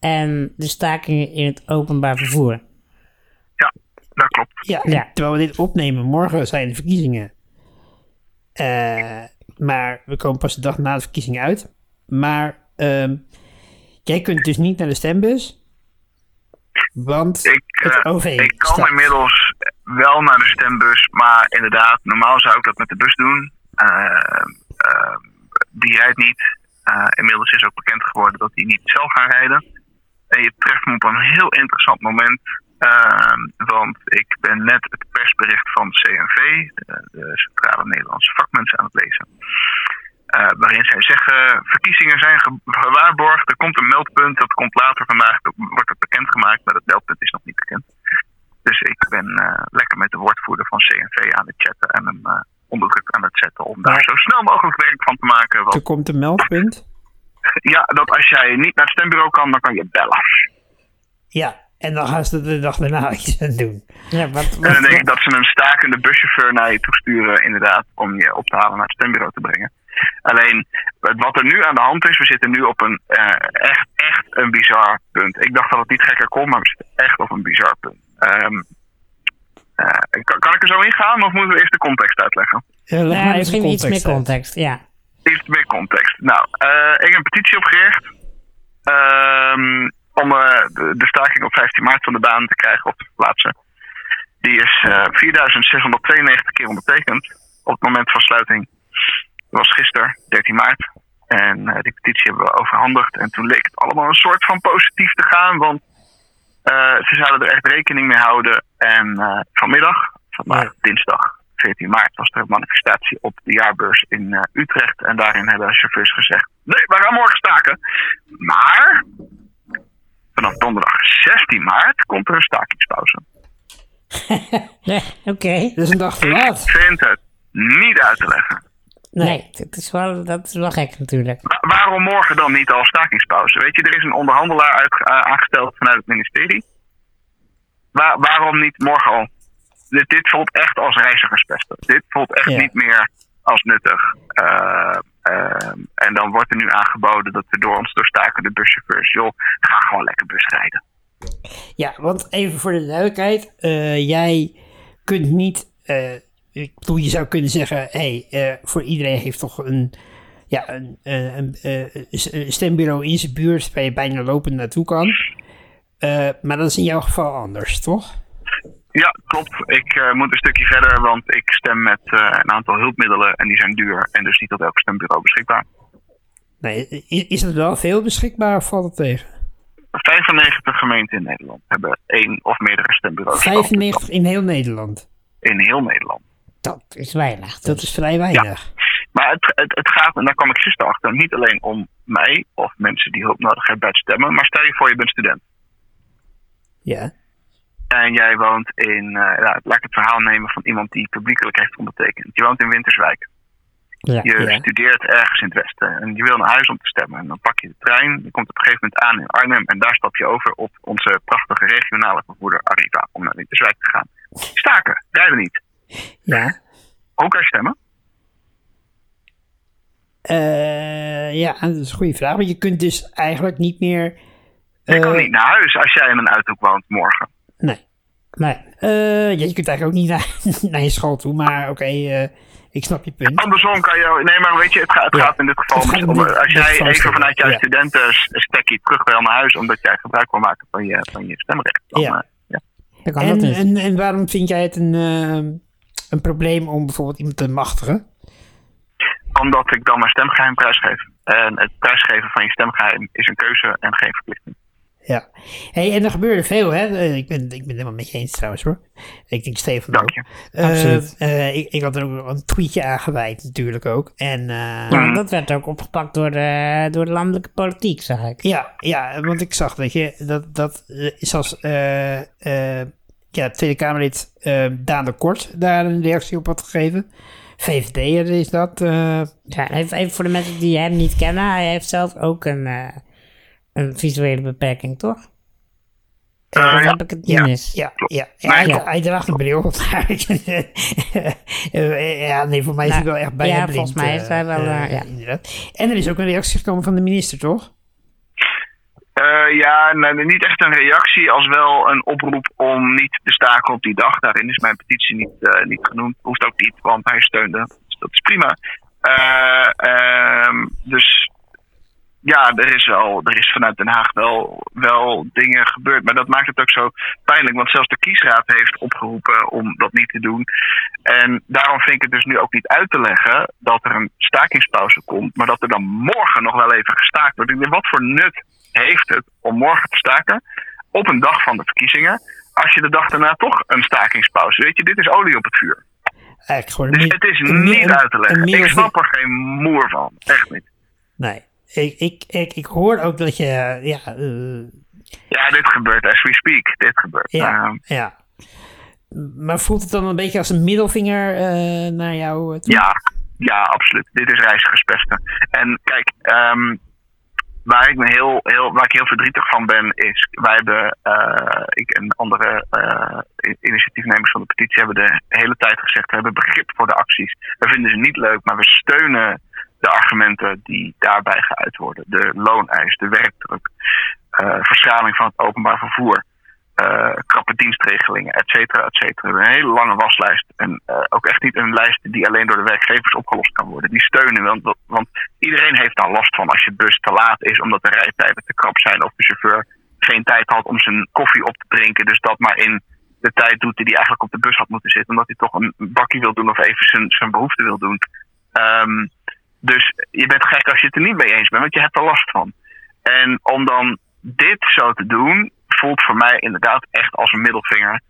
Speaker 2: en de stakingen in het openbaar vervoer.
Speaker 6: ja, dat klopt.
Speaker 1: Ja,
Speaker 2: Ja.
Speaker 1: en terwijl we dit opnemen, morgen zijn de verkiezingen. Eh, maar we komen pas de dag na de verkiezingen uit. Maar ehm, jij kunt dus niet naar de stembus, want
Speaker 6: Ik,
Speaker 1: het
Speaker 6: eh,
Speaker 1: OV
Speaker 6: ik kan
Speaker 1: staat.
Speaker 6: inmiddels wel naar de stembus, maar inderdaad, normaal zou ik dat met de bus doen. Eh, eh, die rijdt niet. Eh, inmiddels is ook bekend geworden dat die niet zal gaan rijden. En je treft me op een heel interessant moment. eh, want ik ben net het persbericht van CNV, de, de Centrale Nederlandse Vakmensen, aan het lezen. Eh, waarin zij zeggen, verkiezingen zijn ge- gewaarborgd. Er komt een meldpunt, dat komt later vandaag, wordt het bekendgemaakt, maar dat meldpunt is nog niet bekend. Dus ik ben eh, lekker met de woordvoerder van CNV aan het chatten en hem eh, onder druk aan het zetten om daar
Speaker 1: Maar-
Speaker 6: zo snel mogelijk werk van te maken.
Speaker 1: er
Speaker 6: Want
Speaker 1: komt een meldpunt.
Speaker 6: ja, dat als jij niet naar het stembureau kan, dan kan je bellen.
Speaker 1: Ja, en dan gaan ze er de dag daarna iets aan doen.
Speaker 2: Ja, wat,
Speaker 6: En dan
Speaker 2: wat,
Speaker 6: denk ik dat ze een stakende buschauffeur naar je toe sturen, inderdaad, om je op te halen naar het stembureau te brengen. Alleen, wat er nu aan de hand is, we zitten nu op een eh, echt, echt een bizar punt. Ik dacht dat het niet gekker kon, maar we zitten echt op een bizar punt. Ehm, eh, kan, kan ik er zo in gaan, of moeten we eerst de context uitleggen?
Speaker 1: Ja, leg
Speaker 2: Ja,
Speaker 1: maar even
Speaker 2: Eh, misschien iets meer
Speaker 1: context uit.
Speaker 2: context, ja.
Speaker 6: Iets meer context. Nou, eh, ik heb een petitie opgericht ehm, om eh, de, de staking op 15 maart van de baan te krijgen op te verplaatsen. Die is eh 4692 keer ondertekend op het moment van sluiting. Dat was gisteren, 13 maart. En eh, die petitie hebben we overhandigd. En toen leek het allemaal een soort van positief te gaan, want eh, ze zouden er echt rekening mee houden. En eh, vanmiddag, vandaag dinsdag 14 maart, was er een manifestatie op de jaarbeurs in eh, Utrecht. En daarin hebben chauffeurs gezegd: Nee, we gaan morgen staken. Maar vanaf donderdag 16 maart komt er een stakingspauze.
Speaker 2: Ja, oké.
Speaker 1: Dat is een dag te laat.
Speaker 6: Ik vind het niet uit te leggen.
Speaker 2: Nee, dat is, wel, dat is wel gek natuurlijk.
Speaker 6: Wa- waarom morgen dan niet al stakingspauze? Weet je, er is een onderhandelaar uit, eh, aangesteld vanuit het ministerie. Wa- waarom niet morgen al? Dit, dit voelt echt als reizigerspesten. Dit voelt echt
Speaker 1: Ja.
Speaker 6: niet meer als nuttig. Eh, ehm, en dan wordt er nu aangeboden dat er door ons doorstakende buschauffeurs... joh, ga gewoon lekker bus rijden.
Speaker 1: Ja, want even voor de duidelijkheid. eh, jij kunt niet... eh, ik bedoel, je zou kunnen zeggen... hey, eh, voor iedereen heeft toch een... Ja, een, eh, een, eh, s- een stembureau in zijn buurt... waar je bijna lopend naartoe kan. Eh, maar dat is in jouw geval anders, toch?
Speaker 6: Ja, klopt. Ik eh, moet een stukje verder, want ik stem met eh, een aantal hulpmiddelen... en die zijn duur en dus niet op elk stembureau beschikbaar.
Speaker 1: Nee, is, is dat wel veel beschikbaar of valt het tegen?
Speaker 6: 95 gemeenten in Nederland hebben één of meerdere stembureaus.
Speaker 1: 95 in heel Nederland.
Speaker 6: In heel Nederland.
Speaker 2: Dat is weinig.
Speaker 1: Dat is vrij weinig.
Speaker 6: Maar het, het, het gaat, en daar kwam ik gisteren achter, niet alleen om mij of mensen die hulp nodig hebben bij het stemmen. Maar stel je voor, je bent student.
Speaker 1: Ja.
Speaker 6: En jij woont in, eh, nou, laat ik het verhaal nemen van iemand die publiekelijk heeft ondertekend. Je woont in Winterswijk.
Speaker 2: Ja,
Speaker 6: Je
Speaker 1: Ja.
Speaker 6: studeert ergens in het westen en je wil naar huis om te stemmen. En dan pak je de trein, je komt op een gegeven moment aan in Arnhem en daar stap je over op onze prachtige regionale vervoerder Arriva om naar Winterswijk te gaan. Staken, rijden niet.
Speaker 1: Ja.
Speaker 6: Hoe kan je stemmen?
Speaker 1: Eh, ja, dat is een goede vraag. Want je kunt dus eigenlijk niet meer.
Speaker 6: Je kan
Speaker 1: eh,
Speaker 6: niet naar huis als jij in een uithoek woont morgen.
Speaker 1: Nee.
Speaker 2: nee.
Speaker 1: Eh, ja, je kunt eigenlijk ook niet naar, naar je school toe. Maar oké, eh, ik snap je punt.
Speaker 6: Andersom kan je. Nee, maar weet je, het, gaat- het
Speaker 1: Ja.
Speaker 6: gaat in dit geval.
Speaker 1: Het gaat
Speaker 6: om,
Speaker 1: om dit-
Speaker 6: als
Speaker 1: dit
Speaker 6: jij
Speaker 1: geval
Speaker 6: even
Speaker 1: stemmen.
Speaker 6: vanuit jouw
Speaker 1: Ja.
Speaker 6: studentenstekkie terug wil naar huis. omdat jij gebruik wil maken van je, van je stemrecht. Dan,
Speaker 1: Ja.
Speaker 6: eh, ja.
Speaker 2: Dan kan
Speaker 1: En,
Speaker 2: Nou, dat niet.
Speaker 1: en, en waarom vind jij het een, ehm, een probleem om bijvoorbeeld iemand te machtigen?
Speaker 6: Omdat ik dan mijn stemgeheim prijsgeef. En het prijsgeven van je stemgeheim is een keuze en geen verplichting.
Speaker 1: Ja. Hey, en er gebeurde veel, hè? Eh, Ik ben, ik ben het helemaal met je eens trouwens, hoor. Ik denk Stefan
Speaker 6: Dank
Speaker 1: ook.
Speaker 6: je.
Speaker 1: Eh,
Speaker 2: Absoluut.
Speaker 1: eh, ik, ik had er ook een tweetje aan gewijd, natuurlijk ook. En eh,
Speaker 2: Nou, dat werd ook opgepakt door de, door de landelijke politiek, zag ik.
Speaker 1: ja, ja, want ik zag dat je dat, dat eh, zelfs eh, eh, ja, Tweede Kamerlid eh, Daan de Kort daar een reactie op had gegeven. VVD'er is dat. eh,
Speaker 2: Ja, even, even voor de mensen die hem niet kennen, hij heeft zelf ook een, eh, een visuele beperking, toch?
Speaker 6: Eh,
Speaker 2: Of
Speaker 6: ja.
Speaker 2: heb ik het niet
Speaker 1: Ja,
Speaker 2: mis?
Speaker 1: ja,
Speaker 6: Klopt.
Speaker 1: ja.
Speaker 6: Nee,
Speaker 1: hij,
Speaker 2: klopt.
Speaker 1: hij draagt een bril. maar- Eh, ja, nee, voor mij is hij
Speaker 2: Nou,
Speaker 1: wel echt bijna
Speaker 2: ja,
Speaker 1: blind.
Speaker 2: volgens mij is
Speaker 1: eh,
Speaker 2: hij wel,
Speaker 1: eh,
Speaker 2: eh, ja.
Speaker 1: inderdaad. En er is ook een reactie gekomen van de minister, toch?
Speaker 6: Eh, ja, nou, niet echt een reactie, als wel een oproep om niet te staken op die dag. Daarin is mijn petitie niet, eh, niet genoemd. Hoeft ook niet, want hij steunde. Dus dat is prima. Eh, ehm, dus ja, er is, wel, er is vanuit Den Haag wel, wel dingen gebeurd. Maar dat maakt het ook zo pijnlijk, want zelfs de kiesraad heeft opgeroepen om dat niet te doen. En daarom vind ik het dus nu ook niet uit te leggen dat er een stakingspauze komt, maar dat er dan morgen nog wel even gestaakt wordt. Ik denk, wat voor nut heeft het om morgen te staken op een dag van de verkiezingen, als je de dag daarna toch een stakingspauze. Weet je, dit is olie op het vuur.
Speaker 1: Eigenlijk gewoon
Speaker 6: Dus
Speaker 1: mi-
Speaker 6: het is
Speaker 1: een mi-
Speaker 6: niet
Speaker 1: een-
Speaker 6: uit te leggen.
Speaker 1: een
Speaker 6: Ik
Speaker 1: middel-
Speaker 6: snap er geen moer van. Echt niet.
Speaker 1: Nee. Ik, ik, ik, ik hoor ook dat je. Ja, eh,
Speaker 6: Ja, dit gebeurt as we speak. Dit gebeurt.
Speaker 1: ja,
Speaker 6: Ehm,
Speaker 1: ja. Maar voelt het dan een beetje als een middelvinger eh, naar jou eh, toe?
Speaker 6: Ja, ja, absoluut. Dit is reizigerspesten. En kijk, ehm, waar, ik me heel, heel, waar ik heel verdrietig van ben, is wij hebben, eh, ik en andere eh, i- initiatiefnemers van de petitie hebben de hele tijd gezegd, we hebben begrip voor de acties. We vinden ze niet leuk, maar we steunen de argumenten die daarbij geuit worden. De looneis, de werkdruk, eh, verschaling van het openbaar vervoer eh krappe dienstregelingen, et cetera, et cetera. Een hele lange waslijst. En eh, ook echt niet een lijst die alleen door de werkgevers opgelost kan worden. Die steunen, want, want iedereen heeft daar last van als je bus te laat is omdat de rijtijden te krap zijn of de chauffeur geen tijd had om zijn koffie op te drinken. Dus dat maar in de tijd doet die hij eigenlijk op de bus had moeten zitten. Omdat hij toch een bakkie wil doen of even zijn, zijn behoefte wil doen. Ehm, dus je bent gek als je het er niet mee eens bent, want je hebt er last van. En om dan dit zo te doen, voelt voor mij inderdaad echt als een middelvinger.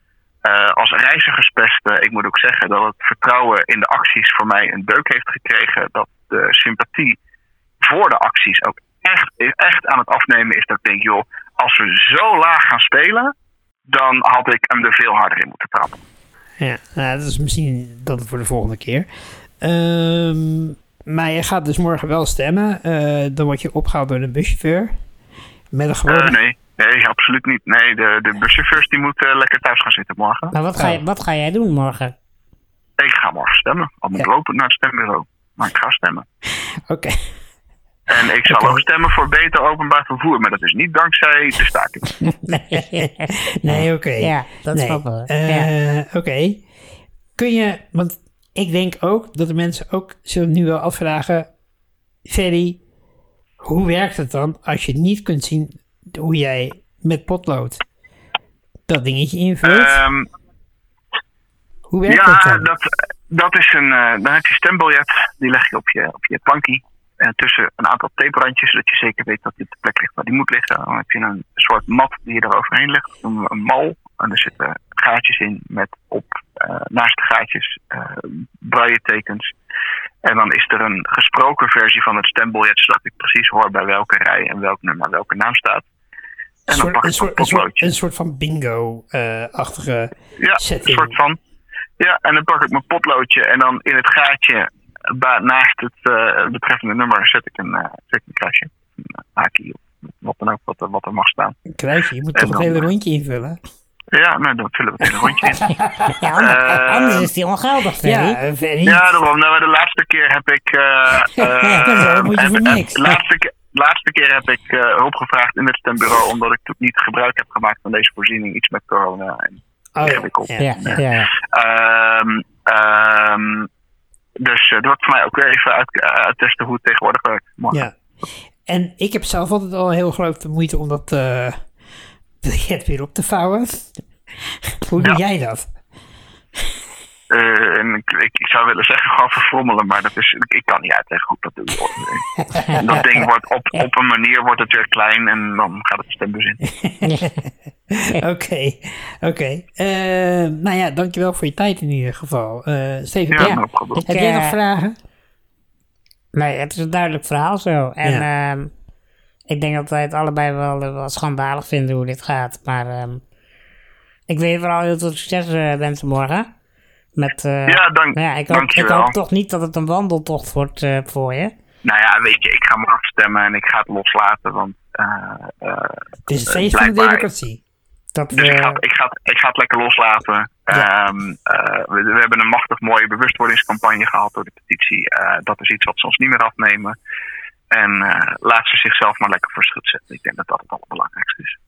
Speaker 6: Eh, als reizigerspesten, ik moet ook zeggen dat het vertrouwen in de acties voor mij een deuk heeft gekregen. Dat de sympathie voor de acties ook echt, echt aan het afnemen is. Dat ik denk, joh, als we zo laag gaan spelen, dan had ik hem er veel harder in moeten trappen.
Speaker 1: Ja, nou, dat is misschien dan voor de volgende keer. Ehm, maar je gaat dus morgen wel stemmen. Eh, dan word je opgehaald door een buschauffeur. Met een gewone...
Speaker 6: Eh, nee, nee, absoluut niet. Nee, de, de buschauffeurs die moeten lekker thuis gaan zitten morgen.
Speaker 2: Maar wat ga,
Speaker 1: Oh.
Speaker 2: je, wat ga jij doen morgen?
Speaker 6: Ik ga morgen stemmen. Al moet ik lopen naar het stembureau. Maar ik ga stemmen.
Speaker 1: Oké.
Speaker 6: En ik zal ook stemmen voor beter openbaar vervoer. Maar dat is niet dankzij de staking.
Speaker 2: nee,
Speaker 1: Nee, oké.
Speaker 2: Ja, dat
Speaker 1: nee.
Speaker 2: snappen we.
Speaker 1: Eh, Oké. Kun je, want ik denk ook dat de mensen ook zullen nu wel afvragen, Ferry, hoe werkt het dan als je niet kunt zien hoe jij met potlood dat dingetje invult?
Speaker 6: Ehm,
Speaker 1: hoe werkt dat
Speaker 6: ja,
Speaker 1: dan?
Speaker 6: dat, dat is een. eh, dan heb je stembiljet. Die leg je op je, op je plankie. En tussen een aantal taperandjes. Zodat je zeker weet dat die op de plek ligt waar die moet liggen. Dan heb je een soort mat die je eroverheen legt. Dat noemen we een mal. En er zitten gaatjes in met op eh, naast de gaatjes eh braille tekens. En dan is er een gesproken versie van het stembiljet. Zodat ik precies hoor bij welke rij en welk nummer welke naam staat. En dan pak
Speaker 1: een,
Speaker 6: ik dat
Speaker 1: soort, een, soort,
Speaker 6: potloodje.
Speaker 1: een soort van bingo-achtige
Speaker 6: Ja,
Speaker 1: setting.
Speaker 6: een soort van. Ja, en dan pak ik mijn potloodje en dan in het gaatje ba- naast het eh, betreffende nummer zet ik een, eh zet ik een kruisje. Een eh, haakje of wat dan ook, wat, er- wat er mag staan.
Speaker 1: Kruisje, je moet
Speaker 6: En
Speaker 1: toch het
Speaker 6: dan-
Speaker 1: hele rondje invullen?
Speaker 6: Ja, nou, dan vullen we het hele rondje in.
Speaker 2: Ja, anders,
Speaker 6: Eh,
Speaker 2: anders is die ongeldig, Ferry.
Speaker 1: Ja, eh, Ferry.
Speaker 6: Ja, daarom. Nou, de laatste keer heb ik. eh, eh,
Speaker 1: dat is wel, moet je
Speaker 6: heb-
Speaker 1: voor
Speaker 6: heb-
Speaker 1: niks.
Speaker 6: laatste, keer- laatste keer heb ik eh, hulp gevraagd in het stembureau. omdat ik toen niet gebruik heb gemaakt van deze voorziening. Iets met corona. En,
Speaker 1: Oh,
Speaker 6: ingewikkeld.
Speaker 1: ja,
Speaker 2: Ja,
Speaker 1: ja.
Speaker 2: ja, ja.
Speaker 6: ehm, ehm, dus eh, dat wordt voor mij ook weer even uit, eh, uittesten hoe het tegenwoordig werkt. Morgen.
Speaker 1: Ja. En ik heb zelf altijd al heel grote moeite om dat eh, biljet weer op te vouwen. Hoe doe
Speaker 6: Ja.
Speaker 1: jij dat?
Speaker 6: Eh, en ik, ik, ik zou willen zeggen gewoon verfrommelen, maar dat is, ik, ik kan niet uitleggen hoe ik dat doe. En dat ding wordt op, op een manier wordt het weer klein en dan gaat het de stembus in.
Speaker 1: Oké, oké. Eh, nou ja, dankjewel voor je tijd in ieder geval. Eh Steven,
Speaker 6: Ja,
Speaker 1: ja.
Speaker 6: maar opgelost.
Speaker 1: heb jij
Speaker 2: Ik,
Speaker 1: nog
Speaker 2: eh,
Speaker 1: vragen?
Speaker 2: Nee, het is een duidelijk verhaal zo. En
Speaker 1: Ja.
Speaker 2: ehm, ik denk dat wij het allebei wel, eh, wel schandalig vinden hoe dit gaat. Maar ehm, ik weet vooral heel veel succes eh, wensen morgen. Met, eh,
Speaker 6: Ja, dank-
Speaker 2: nou ja, ik, hoop, ik
Speaker 6: dankjewel.
Speaker 2: hoop toch niet dat het een wandeltocht wordt eh, voor je.
Speaker 6: Nou ja, weet je, ik ga me afstemmen en ik ga het loslaten, want eh, eh,
Speaker 1: Het is het feest van de
Speaker 6: blijkbaar-
Speaker 1: democratie.
Speaker 2: Dat eh,
Speaker 6: Dus
Speaker 2: we-
Speaker 6: ik ga, het- ik, ga, het- ik ga het lekker loslaten. Ehm, eh, we, we hebben een machtig mooie bewustwordingscampagne gehad door de petitie. Eh, dat is iets wat ze ons niet meer afnemen. En eh, laat ze zichzelf maar lekker voor schut zetten. Ik denk dat dat het allerbelangrijkste is.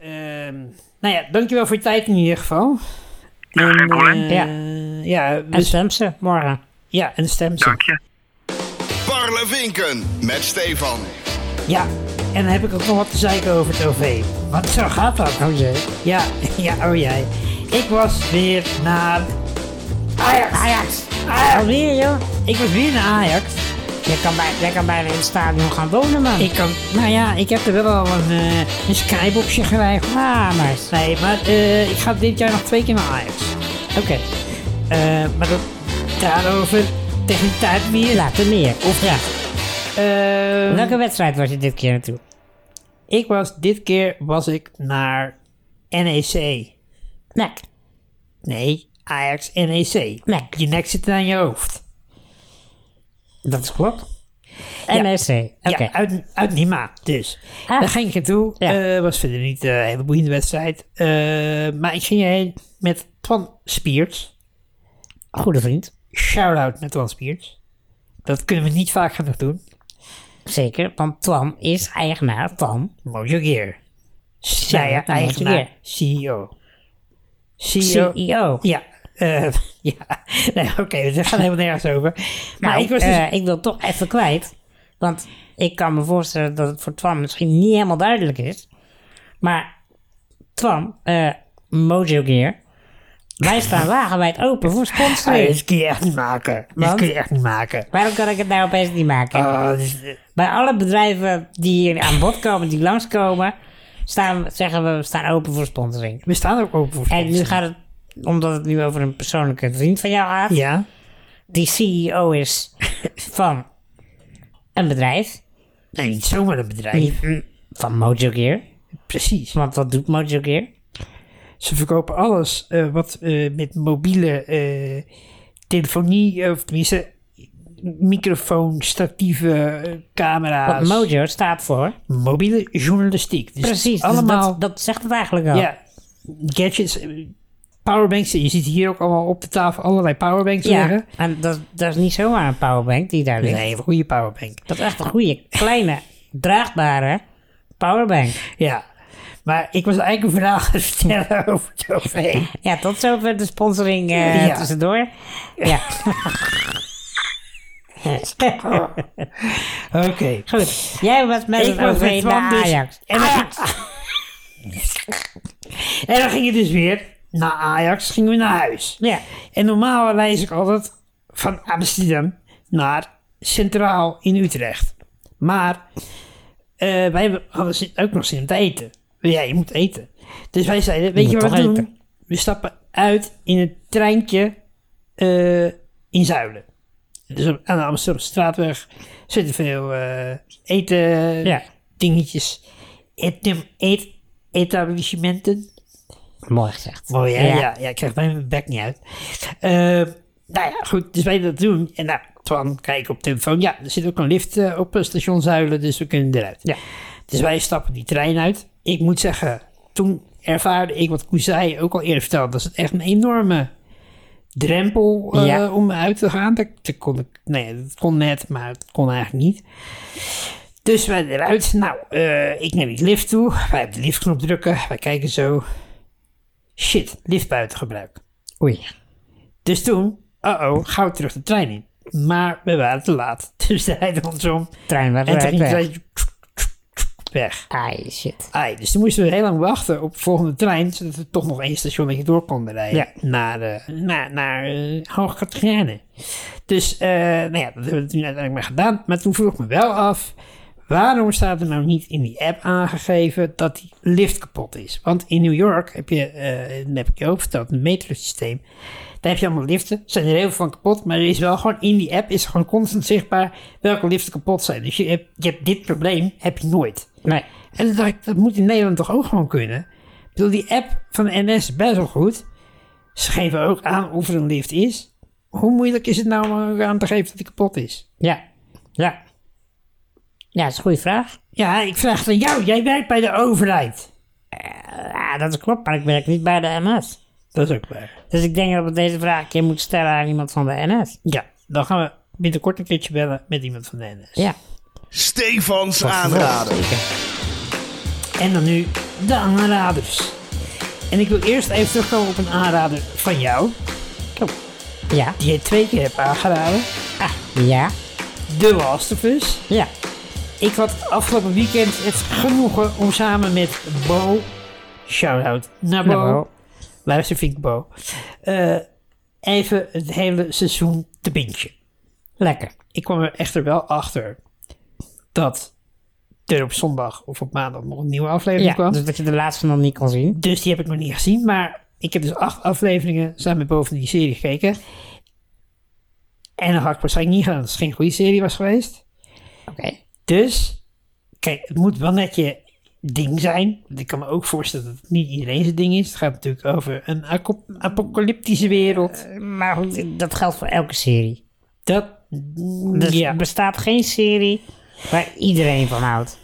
Speaker 1: Ehm, nou ja, dankjewel voor je tijd in ieder geval. En,
Speaker 6: geen probleem.
Speaker 1: eh,
Speaker 2: Ja.
Speaker 1: ja,
Speaker 2: en
Speaker 1: dus-
Speaker 2: stem ze morgen.
Speaker 1: ja, en stem ze.
Speaker 6: Dank je.
Speaker 4: Parlevinken met Stefan.
Speaker 1: Ja, en dan heb ik ook nog wat te zeiken over het OV. Want zo gaat dat.
Speaker 2: Oh jee.
Speaker 1: Ja, ja, oh jij. Ik was weer naar Ajax.
Speaker 2: Ajax!
Speaker 1: Ajax.
Speaker 2: Alweer joh!
Speaker 1: Ik was weer naar Ajax.
Speaker 2: Je kan, bij, jij kan bijna in het stadion gaan wonen man.
Speaker 1: Ik kan, nou ja, ik heb er wel al een, eh, een skyboxje geweigerd.
Speaker 2: Ah, nice.
Speaker 1: Nee, maar eh, ik ga dit jaar nog twee keer naar Ajax. Oké. Eh, maar dat, daarover tegen die tijd meer.
Speaker 2: Later meer. Of ja.
Speaker 1: Eh,
Speaker 2: Welke wedstrijd was je dit keer naartoe?
Speaker 1: Ik was, dit keer was ik naar NEC.
Speaker 2: Nek.
Speaker 1: Nee, Ajax NEC.
Speaker 2: Nee.
Speaker 1: Je nek zit aan je hoofd.
Speaker 2: Dat is klopt. NEC. Oké.
Speaker 1: Ja, uit, uit Nima dus.
Speaker 2: Ah.
Speaker 1: Daar ging ik naartoe.
Speaker 2: Ja.
Speaker 1: Eh, was verder niet eh, een hele boeiende wedstrijd. Eh, maar ik ging heen met Twan Spiers.
Speaker 2: Goede vriend.
Speaker 1: Shout-out naar Twan Spiers. Dat kunnen we niet vaak genoeg doen.
Speaker 2: Zeker, want Twan is eigenaar van
Speaker 1: Mooie keer.
Speaker 2: Ja,
Speaker 1: Zij
Speaker 2: ja, mooie
Speaker 1: eigenaar. E
Speaker 2: keer.
Speaker 1: CEO.
Speaker 2: E
Speaker 1: CEO.
Speaker 2: CEO.
Speaker 1: Ja. eh, ja. Nee, oké, dus we gaan helemaal nergens over. Maar
Speaker 2: Nou,
Speaker 1: ik was dus...
Speaker 2: eh, ik wil toch even kwijt. Want ik kan me voorstellen dat het voor Twan misschien niet helemaal duidelijk is. Maar Twan, eh Mojo Gear, wij staan wagenwijd open voor
Speaker 1: Nee,
Speaker 2: sponsoring.
Speaker 1: dit kun je echt niet maken.
Speaker 2: Want?
Speaker 1: Dit kun je echt niet maken.
Speaker 2: Waarom kan ik het nou opeens niet maken?
Speaker 1: Ah, dit is-
Speaker 2: Bij alle bedrijven die hier aan bod komen, die langskomen, staan, we- zeggen we, we staan open voor sponsoring.
Speaker 1: we staan ook open voor
Speaker 2: En nu
Speaker 1: sponsors.
Speaker 2: gaat het, omdat het nu over een persoonlijke vriend E van jou gaat,
Speaker 1: Ja,
Speaker 2: die CEO is van een bedrijf
Speaker 1: Nee, niet zomaar een bedrijf.
Speaker 2: van Mojo Gear.
Speaker 1: Precies.
Speaker 2: Want wat doet Mojo Gear?
Speaker 1: Ze verkopen alles eh, wat eh, met mobiele eh, telefonie, eh, of tenminste microfoon, statieven, eh,
Speaker 2: Want
Speaker 1: camera's.
Speaker 2: Mojo staat voor.
Speaker 1: mobiele journalistiek. Dus
Speaker 2: Precies, dus
Speaker 1: allemaal
Speaker 2: dat, dat zegt het eigenlijk al.
Speaker 1: ja, gadgets, eh, powerbanks. Je ziet hier ook allemaal op de tafel allerlei powerbanks
Speaker 2: Ja,
Speaker 1: liggen.
Speaker 2: en dat, dat is niet zomaar een powerbank die daar
Speaker 1: Dat is
Speaker 2: ligt.
Speaker 1: een hele goede powerbank.
Speaker 2: Dat is echt een goede, kleine, draagbare powerbank.
Speaker 1: Ja. Maar ik was eigenlijk een verhaal gaan vertellen over het OV.
Speaker 2: Ja, tot zover de sponsoring eh,
Speaker 1: Ja.
Speaker 2: tussendoor. Ja,
Speaker 1: Oké.
Speaker 2: goed. Jij was met
Speaker 1: Ik
Speaker 2: het
Speaker 1: was
Speaker 2: OV
Speaker 1: met Twan
Speaker 2: naar
Speaker 1: dus.
Speaker 2: Ajax.
Speaker 1: En dan, en dan ging je dus weer naar Ajax, gingen we naar huis.
Speaker 2: Ja.
Speaker 1: En normaal reis ik altijd van Amsterdam naar Centraal in Utrecht. Maar eh, wij hebben- hadden zin- ook nog zin om te eten. Ja, je moet eten. Dus wij zeiden, weet je,
Speaker 2: moet
Speaker 1: wat we
Speaker 2: toch
Speaker 1: doen?
Speaker 2: eten?
Speaker 1: We stappen uit in het treintje eh, in Zuilen. Dus op- aan de Amsterdamse straatweg zitten veel eh, eten
Speaker 2: Ja.
Speaker 1: dingetjes. Etem, et, etablissementen.
Speaker 2: Mooi gezegd.
Speaker 1: Mooi, hè?
Speaker 2: Ja.
Speaker 1: Ja. Ja, ik krijg mijn bek niet uit. Eh, nou ja, goed, dus wij dat doen. En nou, Twan, kijk op telefoon. Ja, er zit ook een lift eh, op eh, station Zuilen, dus we kunnen eruit.
Speaker 2: Ja.
Speaker 1: Dus wij stappen die trein uit. Ik moet zeggen, toen ervaarde ik wat Koezij ook al eerder vertelde. Dat is echt een enorme drempel eh,
Speaker 2: Ja.
Speaker 1: om uit te gaan. Dat, dat kon ik, nee, dat kon net, maar het kon eigenlijk niet. Dus wij eruit. Nou, eh, ik naar die lift toe. Wij hebben de liftknop drukken. Wij kijken zo. Shit, lift buiten gebruik.
Speaker 2: Oei.
Speaker 1: Dus toen, uh-oh, gauw terug de trein in. Maar we waren te laat. Dus hij rijden ons om.
Speaker 2: Trein werd
Speaker 1: En eh, toen
Speaker 2: weg.
Speaker 1: ging de trein weg.
Speaker 2: Ai, shit.
Speaker 1: Ai, dus toen moesten we heel lang wachten op de volgende trein, zodat we toch nog één stationnetje door konden rijden. Naar, eh, naar, naar eh, Hoogkaterijnen. Dus, eh, nou ja, dat hebben we toen uiteindelijk maar gedaan. Maar toen vroeg ik me wel af, waarom staat er nou niet in die app aangegeven dat die lift kapot is? Want in New York heb je, eh dat heb ik je ook verteld, een metrosysteem. Daar heb je allemaal liften, zijn er heel veel van kapot, maar er is wel gewoon in die app is gewoon constant zichtbaar welke liften kapot zijn. Dus je hebt, je hebt dit probleem heb je nooit.
Speaker 2: Nee.
Speaker 1: En toen dacht ik, dat moet in Nederland toch ook gewoon kunnen? Ik bedoel, die app van de NS is best wel goed. Ze geven ook aan of er een lift is. Hoe moeilijk is het nou om ook aan te geven dat die kapot is?
Speaker 2: Ja. Ja. Ja, dat is een goede vraag.
Speaker 1: Ja, ik vraag het aan jou. Jij werkt bij de overheid.
Speaker 2: Ja, dat klopt, maar ik werk niet bij de MS.
Speaker 1: Dat is ook waar.
Speaker 2: Dus ik denk dat we deze vraag een keer moeten stellen aan iemand van de NS.
Speaker 1: Ja, dan gaan we binnenkort een keertje bellen met iemand van de NS.
Speaker 2: Ja.
Speaker 4: Stefans aanraden.
Speaker 1: En dan nu de aanraders. En ik wil eerst even terugkomen op een aanrader van jou.
Speaker 2: Ja.
Speaker 1: Die je twee keer hebt aangeraden.
Speaker 2: Ja.
Speaker 1: The Last of Us.
Speaker 2: Ja.
Speaker 1: Ik had afgelopen weekend het genoegen om samen met Bo, shout-out naar Bo,
Speaker 2: Nou,
Speaker 1: luister vind ik Bo, eh, even het hele seizoen te bintje.
Speaker 2: lekker.
Speaker 1: Ik kwam er echter wel achter dat er op zondag of op maandag nog een nieuwe aflevering
Speaker 2: Ja,
Speaker 1: kwam.
Speaker 2: dus dat je de laatste nog niet kon zien.
Speaker 1: Dus die heb ik nog niet gezien, maar ik heb dus acht afleveringen samen met Bo van die serie gekeken. En dat had ik waarschijnlijk niet gedaan als het geen goede serie was geweest.
Speaker 2: Oké.
Speaker 1: Dus, kijk, het moet wel net je ding zijn. Want ik kan me ook voorstellen dat het niet iedereen zijn ding is. Het gaat natuurlijk over een aco- apocalyptische wereld.
Speaker 2: Maar goed, dat geldt voor elke serie.
Speaker 1: Dat,
Speaker 2: Dus
Speaker 1: ja,
Speaker 2: er bestaat geen serie waar iedereen van houdt.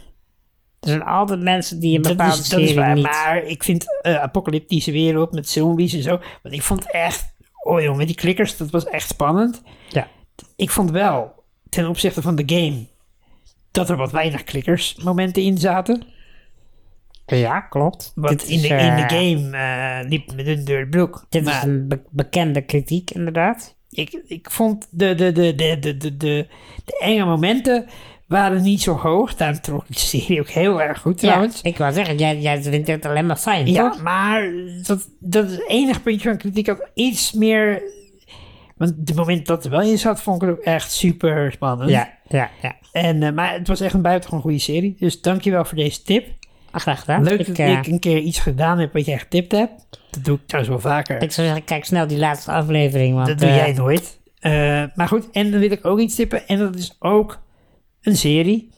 Speaker 2: Er zijn altijd mensen die een
Speaker 1: dat
Speaker 2: bepaalde
Speaker 1: is, dat
Speaker 2: serie
Speaker 1: is waar.
Speaker 2: niet...
Speaker 1: Maar ik vind eh, apocalyptische wereld met zombies en zo. Want ik vond echt, oh joh, met die klikkers, dat was echt spannend.
Speaker 2: Ja.
Speaker 1: Ik vond wel, ten opzichte van de game, dat er wat weinig klikkersmomenten in zaten.
Speaker 2: ja, klopt.
Speaker 1: Want
Speaker 2: Dit
Speaker 1: in de,
Speaker 2: is,
Speaker 1: in de
Speaker 2: eh,
Speaker 1: game eh, liep met een deur broek.
Speaker 2: Dit
Speaker 1: Maar-
Speaker 2: is een be- bekende kritiek, inderdaad.
Speaker 1: ik, ik vond de, de, de, de, de, de, de, de enge momenten waren niet zo hoog. Daarom trok ik de serie ook heel erg goed trouwens.
Speaker 2: Ja, ik wou zeggen, jij, jij vindt het alleen maar fijn,
Speaker 1: Ja,
Speaker 2: toch?
Speaker 1: maar dat, dat is het enige puntje van kritiek. Ook iets meer... Want het moment dat er wel in zat, vond ik het ook echt super spannend.
Speaker 2: Ja, ja, ja.
Speaker 1: En, eh, maar het was echt een buitengewoon goede serie. Dus dankjewel voor deze tip.
Speaker 2: Ah, Graag gedaan.
Speaker 1: Leuk
Speaker 2: ik,
Speaker 1: dat
Speaker 2: eh,
Speaker 1: ik een keer iets gedaan heb wat jij getipt hebt. Dat doe ik trouwens wel vaker.
Speaker 2: Ik zou zeggen, kijk snel die laatste aflevering. Want,
Speaker 1: Dat doe
Speaker 2: eh,
Speaker 1: jij nooit. Eh, maar goed, en dan wil ik ook iets tippen. En dat is ook een serie.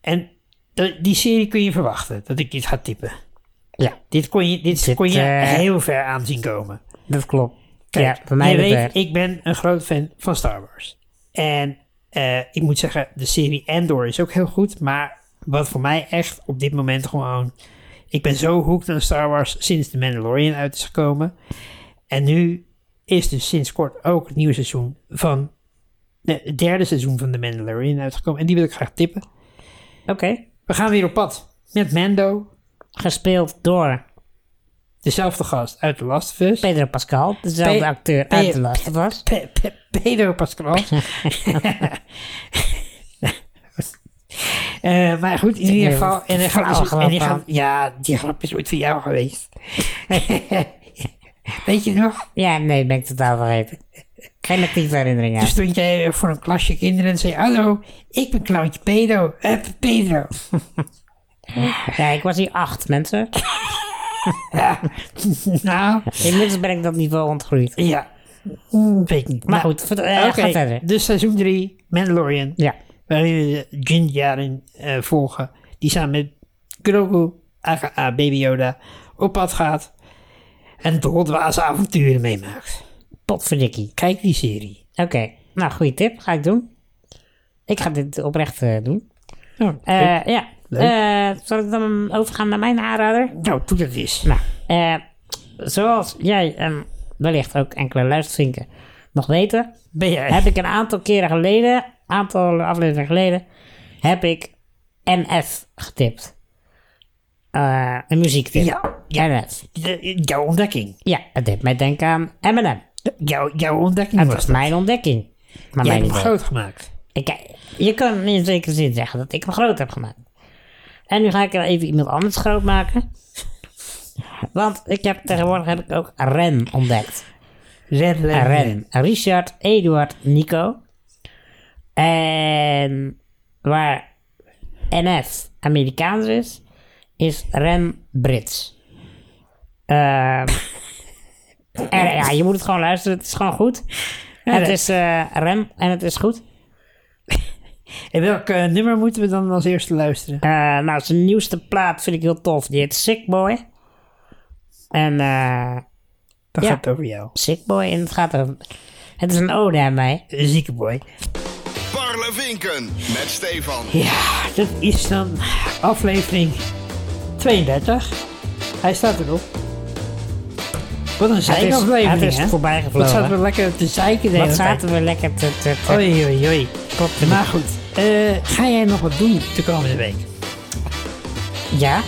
Speaker 1: En dat- die serie kun je verwachten dat ik dit ga typen.
Speaker 2: Ja,
Speaker 1: Dit kon je, dit
Speaker 2: Dit,
Speaker 1: kon je
Speaker 2: eh,
Speaker 1: heel ver aan zien komen.
Speaker 2: dat klopt.
Speaker 1: Kijk,
Speaker 2: ja, bij mij
Speaker 1: je
Speaker 2: dat
Speaker 1: weet,
Speaker 2: werkt.
Speaker 1: ik ben een groot fan van Star Wars. En eh, ik moet zeggen, de serie Andor is ook heel goed. Maar wat voor mij echt op dit moment gewoon... Ik ben zo hooked aan Star Wars sinds The Mandalorian uit is gekomen. En nu is dus sinds kort ook het nieuwe seizoen van... nee, Het derde seizoen van The Mandalorian uitgekomen. En die wil ik graag tippen.
Speaker 2: Oké.
Speaker 1: We gaan weer op pad met Mando.
Speaker 2: Gespeeld door
Speaker 1: Dezelfde gast uit The Last of Us.
Speaker 2: Pedro Pascal, dezelfde
Speaker 1: Pe-
Speaker 2: acteur
Speaker 1: Pe-
Speaker 2: uit de Last of Us.
Speaker 1: Pe- Pe- Pedro Pascal. Eh, maar goed, in ieder geval. En die grap is, en die grap- ja, die grap is ooit voor jou geweest. Weet je nog?
Speaker 2: Ja, nee, ben ik totaal vergeten. Geen actieve herinnering
Speaker 1: Dus Toen
Speaker 2: aan.
Speaker 1: stond jij voor een klasje kinderen en zei: Hallo, ik ben Clowntje Pedro. Eh, Pedro.
Speaker 2: Ja, ik was hier acht, mensen.
Speaker 1: nou,
Speaker 2: Inmiddels ben ik dat niveau ontgroeid.
Speaker 1: ja. Hmm, Weet ik niet.
Speaker 2: Maar goed, vert- eh,
Speaker 1: oké,
Speaker 2: ga verder.
Speaker 1: Dus seizoen 3, Mandalorian.
Speaker 2: Ja,
Speaker 1: waarin we de Jin Jaren eh, volgen, die samen met Grogu, aka Baby Yoda, op pad gaat en toch dwaze avonturen meemaakt.
Speaker 2: potverdikkie.
Speaker 1: Kijk die serie.
Speaker 2: Oké, nou, goede tip. Ga ik doen. Ik ga dit oprecht eh, doen. Eh, ja. Eh, zal ik dan overgaan naar mijn aanrader?
Speaker 1: nou, doe dat eens.
Speaker 2: Nou, eh, zoals jij en wellicht ook enkele luistervinken nog weten,
Speaker 1: ben jij?
Speaker 2: heb ik een aantal keren geleden, aantal afleveringen geleden, heb ik NF getipt. Eh, een muziektip.
Speaker 1: Ja,
Speaker 2: NF.
Speaker 1: De- jouw ontdekking.
Speaker 2: Ja, het deed mij denken aan Eminem.
Speaker 1: Jouw, jouw ontdekking
Speaker 2: Het
Speaker 1: was
Speaker 2: was
Speaker 1: dat.
Speaker 2: mijn ontdekking. Maar
Speaker 1: Jij
Speaker 2: mijn
Speaker 1: hebt hem
Speaker 2: idee.
Speaker 1: groot gemaakt.
Speaker 2: Ik, je kan in zekere zin zeggen dat ik hem groot heb gemaakt. En nu ga ik er even iemand anders groot maken. Want ik heb, tegenwoordig heb ik ook Ren ontdekt.
Speaker 1: Red Red
Speaker 2: Ren. Richard, Eduard, Nico. En waar NF Amerikaans is, is Ren Brits. Ehm, en ja, je moet het gewoon luisteren. Het is gewoon goed. het is eh Ren en het is goed.
Speaker 1: En welk eh, nummer moeten we dan als eerste luisteren?
Speaker 2: Eh, nou, zijn nieuwste plaat vind ik heel tof. Die heet Sick Boy. En eh,
Speaker 1: Dat
Speaker 2: ja.
Speaker 1: gaat over jou.
Speaker 2: Sick Boy, en het gaat er... Het is een ode aan mij.
Speaker 1: Eh, Zieke boy.
Speaker 4: Parlevinken met Stefan.
Speaker 1: Ja, dat is dan aflevering 32. Hij staat erop. Wat een
Speaker 2: het is, het
Speaker 1: zijkaflevering,
Speaker 2: is
Speaker 1: hè?
Speaker 2: voorbij
Speaker 1: Wat
Speaker 2: gevlogen.
Speaker 1: zaten we lekker te zeiken de
Speaker 2: Wat
Speaker 1: hele tijd.
Speaker 2: zaten we lekker te... te, te-
Speaker 1: Oei, oei, oei. Maar goed, eh, ga jij nog wat doen de komende week?
Speaker 2: Ja,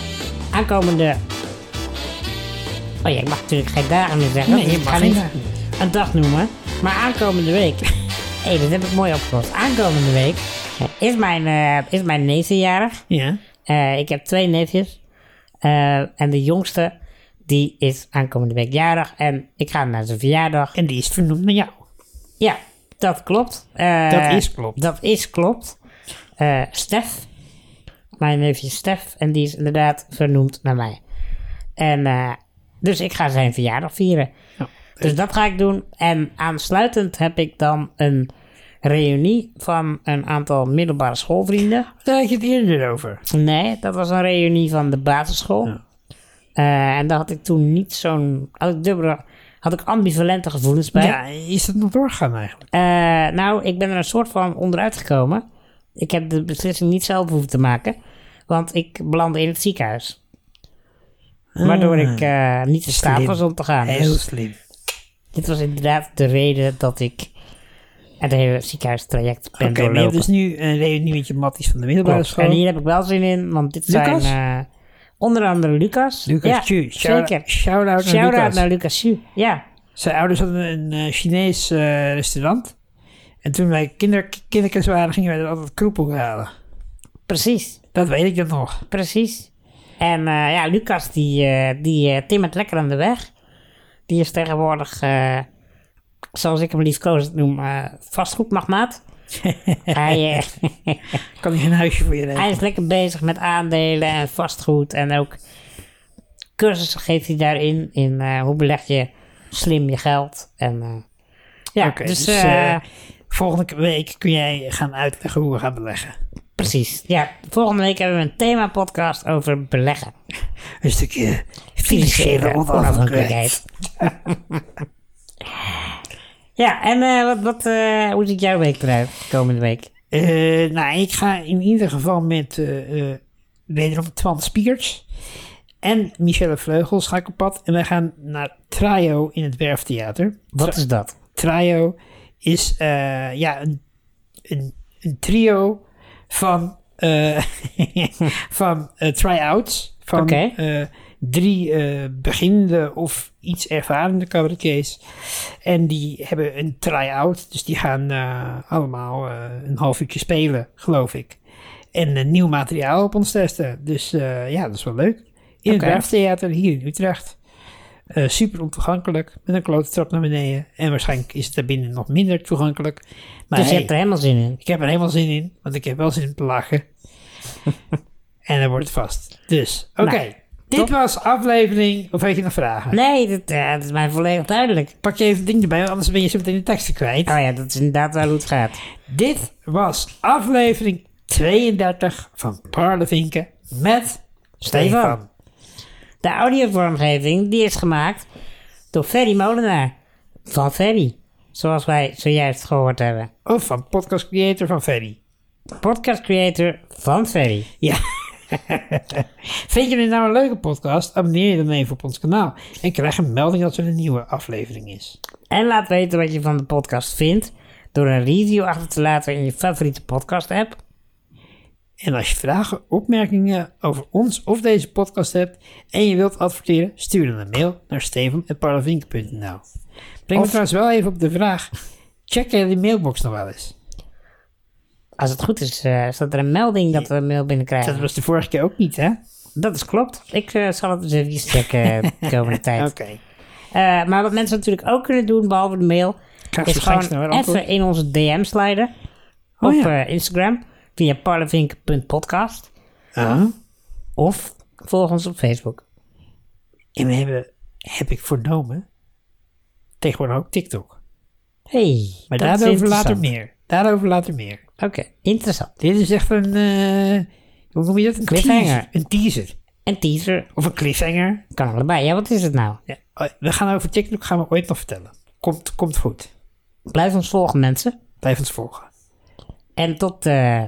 Speaker 2: aankomende... Oh ja, ik mag natuurlijk geen dagen meer zeggen.
Speaker 1: Nee,
Speaker 2: dus
Speaker 1: je
Speaker 2: ik
Speaker 1: mag
Speaker 2: ga
Speaker 1: geen
Speaker 2: niet
Speaker 1: dagen
Speaker 2: een dag noemen. Maar aankomende week... Hé, hey, dat heb ik mooi opgelost. Aankomende week is mijn, eh is mijn nevenjarig.
Speaker 1: Ja.
Speaker 2: Eh, ik heb twee neefjes. Eh, en de jongste, die is aankomende week jarig. En ik ga naar zijn verjaardag.
Speaker 1: En die is vernoemd naar jou.
Speaker 2: Ja, dat klopt. Eh,
Speaker 1: Dat is klopt.
Speaker 2: Dat is klopt. Eh, Stef. Mijn neefje Stef. En die is inderdaad vernoemd naar mij. En eh, dus ik ga zijn verjaardag vieren. Dus dat ga ik doen. En aansluitend heb ik dan een reunie van een aantal middelbare schoolvrienden.
Speaker 1: Daar had je het eerder over.
Speaker 2: Nee, dat was een reunie van de basisschool. Eh, en daar had ik toen niet zo'n. Had ik dubbele. Had ik ambivalente gevoelens bij.
Speaker 1: Ja, is dat nog doorgaan eigenlijk?
Speaker 2: Eh, nou, ik ben er een soort van onderuit gekomen. Ik heb de beslissing niet zelf hoeven te maken. Want ik belandde in het ziekenhuis. Waardoor ik eh, niet in staat
Speaker 1: Ah. Slim.
Speaker 2: was om te gaan.
Speaker 1: Heel
Speaker 2: Dus
Speaker 1: slim.
Speaker 2: dit was inderdaad de reden dat ik het hele ziekenhuistraject ben
Speaker 1: Oké, maar je hebt
Speaker 2: doorlopen.
Speaker 1: dus nu een reunie met je matties van de middelbare
Speaker 2: Klopt.
Speaker 1: school.
Speaker 2: En hier heb ik wel zin in, want dit
Speaker 1: Lucas?
Speaker 2: zijn eh, onder andere Lucas.
Speaker 1: Lucas
Speaker 2: ja,
Speaker 1: Chu. Shout-
Speaker 2: Zeker.
Speaker 1: shout-out naar
Speaker 2: Shout-out
Speaker 1: Lucas.
Speaker 2: naar Lucas Chu. Ja,
Speaker 1: Zijn ouders hadden een eh, Chinees eh, restaurant. En toen wij kinder, kinderkens waren, gingen wij er altijd kroepel halen.
Speaker 2: precies.
Speaker 1: Dat weet ik dan nog.
Speaker 2: Precies. En eh, ja, Lucas die, eh die eh, timmert lekker aan de weg. Die is tegenwoordig, eh, zoals ik hem liefkozend noem, eh, vastgoedmagnaat. hij, eh,
Speaker 1: Kan ik een huisje voor je regelen?
Speaker 2: hij is lekker bezig met aandelen en vastgoed. En ook cursussen geeft hij daarin. In eh, hoe beleg je slim je geld. En eh, ja,
Speaker 1: Oké,
Speaker 2: dus,
Speaker 1: dus,
Speaker 2: eh,
Speaker 1: eh, Volgende week kun jij gaan uitleggen hoe we gaan beleggen.
Speaker 2: Precies. Ja, volgende week hebben we een thema-podcast over beleggen.
Speaker 1: Een stukje financiële onafhankelijkheid.
Speaker 2: ja, en eh, wat, wat, eh, hoe ziet jouw week eruit komende week?
Speaker 1: Eh, nou, ik ga in ieder geval met eh eh wederom Twan Spiers en Michelle Vleugels ga ik op pad. En wij gaan naar Trio in het Werftheater.
Speaker 2: Wat is dat?
Speaker 1: Trio is eh, ja, een, een, een trio van, eh van eh, try-outs. Van
Speaker 2: Oké.
Speaker 1: eh, drie eh, beginnende of iets ervarende cabaretiers. En die hebben een try-out. Dus die gaan eh, allemaal eh, een half uurtje spelen, geloof ik. En eh, nieuw materiaal op ons testen. Dus eh, ja, dat is wel leuk. In
Speaker 2: Oké.
Speaker 1: het Werftheater hier in Utrecht. Eh, super ontoegankelijk, met een klote trap naar beneden. En waarschijnlijk is het daarbinnen nog minder toegankelijk. Maar
Speaker 2: dus je
Speaker 1: hey,
Speaker 2: hebt er helemaal zin in.
Speaker 1: ik heb er helemaal zin in, want ik heb wel zin om te lachen. en dan wordt het vast. Dus, oké.
Speaker 2: Nou,
Speaker 1: dit
Speaker 2: top.
Speaker 1: was aflevering, of heb je nog vragen?
Speaker 2: Nee, dat, eh, dat is mij volledig duidelijk.
Speaker 1: Pak je even het ding erbij, want anders ben je zo meteen de teksten kwijt.
Speaker 2: Oh ja, dat is inderdaad wel hoe het gaat.
Speaker 1: Dit was aflevering 32 van Parlevinken met Stefan.
Speaker 2: Stefan. De audiovormgeving die is gemaakt door Ferry Molenaar. Van Ferry, zoals wij zojuist gehoord hebben.
Speaker 1: Of van podcast creator van Ferry.
Speaker 2: Podcast creator van Ferry.
Speaker 1: Ja. Vind je dit nou een leuke podcast? Abonneer je dan even op ons kanaal en krijg een melding als er een nieuwe aflevering is.
Speaker 2: En laat weten wat je van de podcast vindt door een review achter te laten in je favoriete podcast app.
Speaker 1: En als je vragen, opmerkingen over ons of deze podcast hebt en je wilt adverteren, stuur dan een mail naar steven.parlavink.nl. Breng me
Speaker 2: Of-
Speaker 1: trouwens wel even op de vraag, check jij die mailbox nog wel eens?
Speaker 2: Als het goed is, eh, staat er een melding dat we een mail binnenkrijgen.
Speaker 1: Dat was de vorige keer ook niet, hè?
Speaker 2: Dat is klopt. Ik eh, zal het eens even checken de komende tijd.
Speaker 1: Oké.
Speaker 2: Eh, maar wat mensen natuurlijk ook kunnen doen, behalve de mail,
Speaker 1: Krijg
Speaker 2: is
Speaker 1: je straks nog
Speaker 2: gewoon
Speaker 1: wel antwoord?
Speaker 2: even in onze DM sliden
Speaker 1: Oh
Speaker 2: op
Speaker 1: ja.
Speaker 2: eh, Instagram via parlevink.podcast
Speaker 1: Ah.
Speaker 2: of volg ons op Facebook.
Speaker 1: En we hebben, heb ik voornomen, tegenwoordig ook TikTok.
Speaker 2: Hey,
Speaker 1: Maar
Speaker 2: dat is
Speaker 1: daarover later
Speaker 2: interessant.
Speaker 1: meer. Daarover later meer.
Speaker 2: Oké, interessant.
Speaker 1: Dit is echt een. eh, hoe noem je dat? Een
Speaker 2: Cliffhanger.
Speaker 1: teaser. Een teaser.
Speaker 2: En teaser
Speaker 1: Of een cliffhanger.
Speaker 2: kan allebei. Ja, wat is het nou?
Speaker 1: Ja, oh, we gaan over TikTok gaan we ooit nog vertellen. Komt, komt goed.
Speaker 2: Blijf ons volgen, mensen.
Speaker 1: Blijf ons volgen.
Speaker 2: En tot, eh,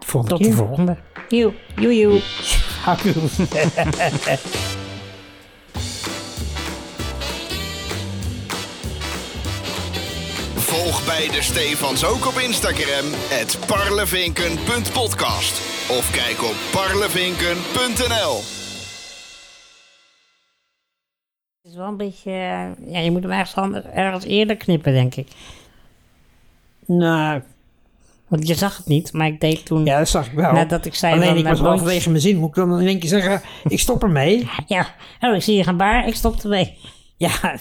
Speaker 1: Volgende
Speaker 2: tot de
Speaker 1: keer.
Speaker 2: volgende. Joe, joe, joe.
Speaker 1: Houdoe.
Speaker 4: Volg beide Stefans ook op Instagram, het parlevinken.podcast. Of kijk op parlevinken.nl.
Speaker 2: Het is wel een beetje... eh, ja, je moet hem ergens, anders- ergens eerder knippen, denk ik.
Speaker 1: Nou,
Speaker 2: Want je zag het niet, maar ik deed toen...
Speaker 1: ja, dat zag ik wel.
Speaker 2: Nadat ik zei
Speaker 1: Alleen
Speaker 2: van,
Speaker 1: ik was
Speaker 2: eh,
Speaker 1: wel
Speaker 2: broodjes.
Speaker 1: vanwege mijn zin. Moet ik dan in één keer zeggen, ik stop ermee?
Speaker 2: Ja. Oh, ik zie je gaan baar. Ik stop ermee.
Speaker 1: Ja,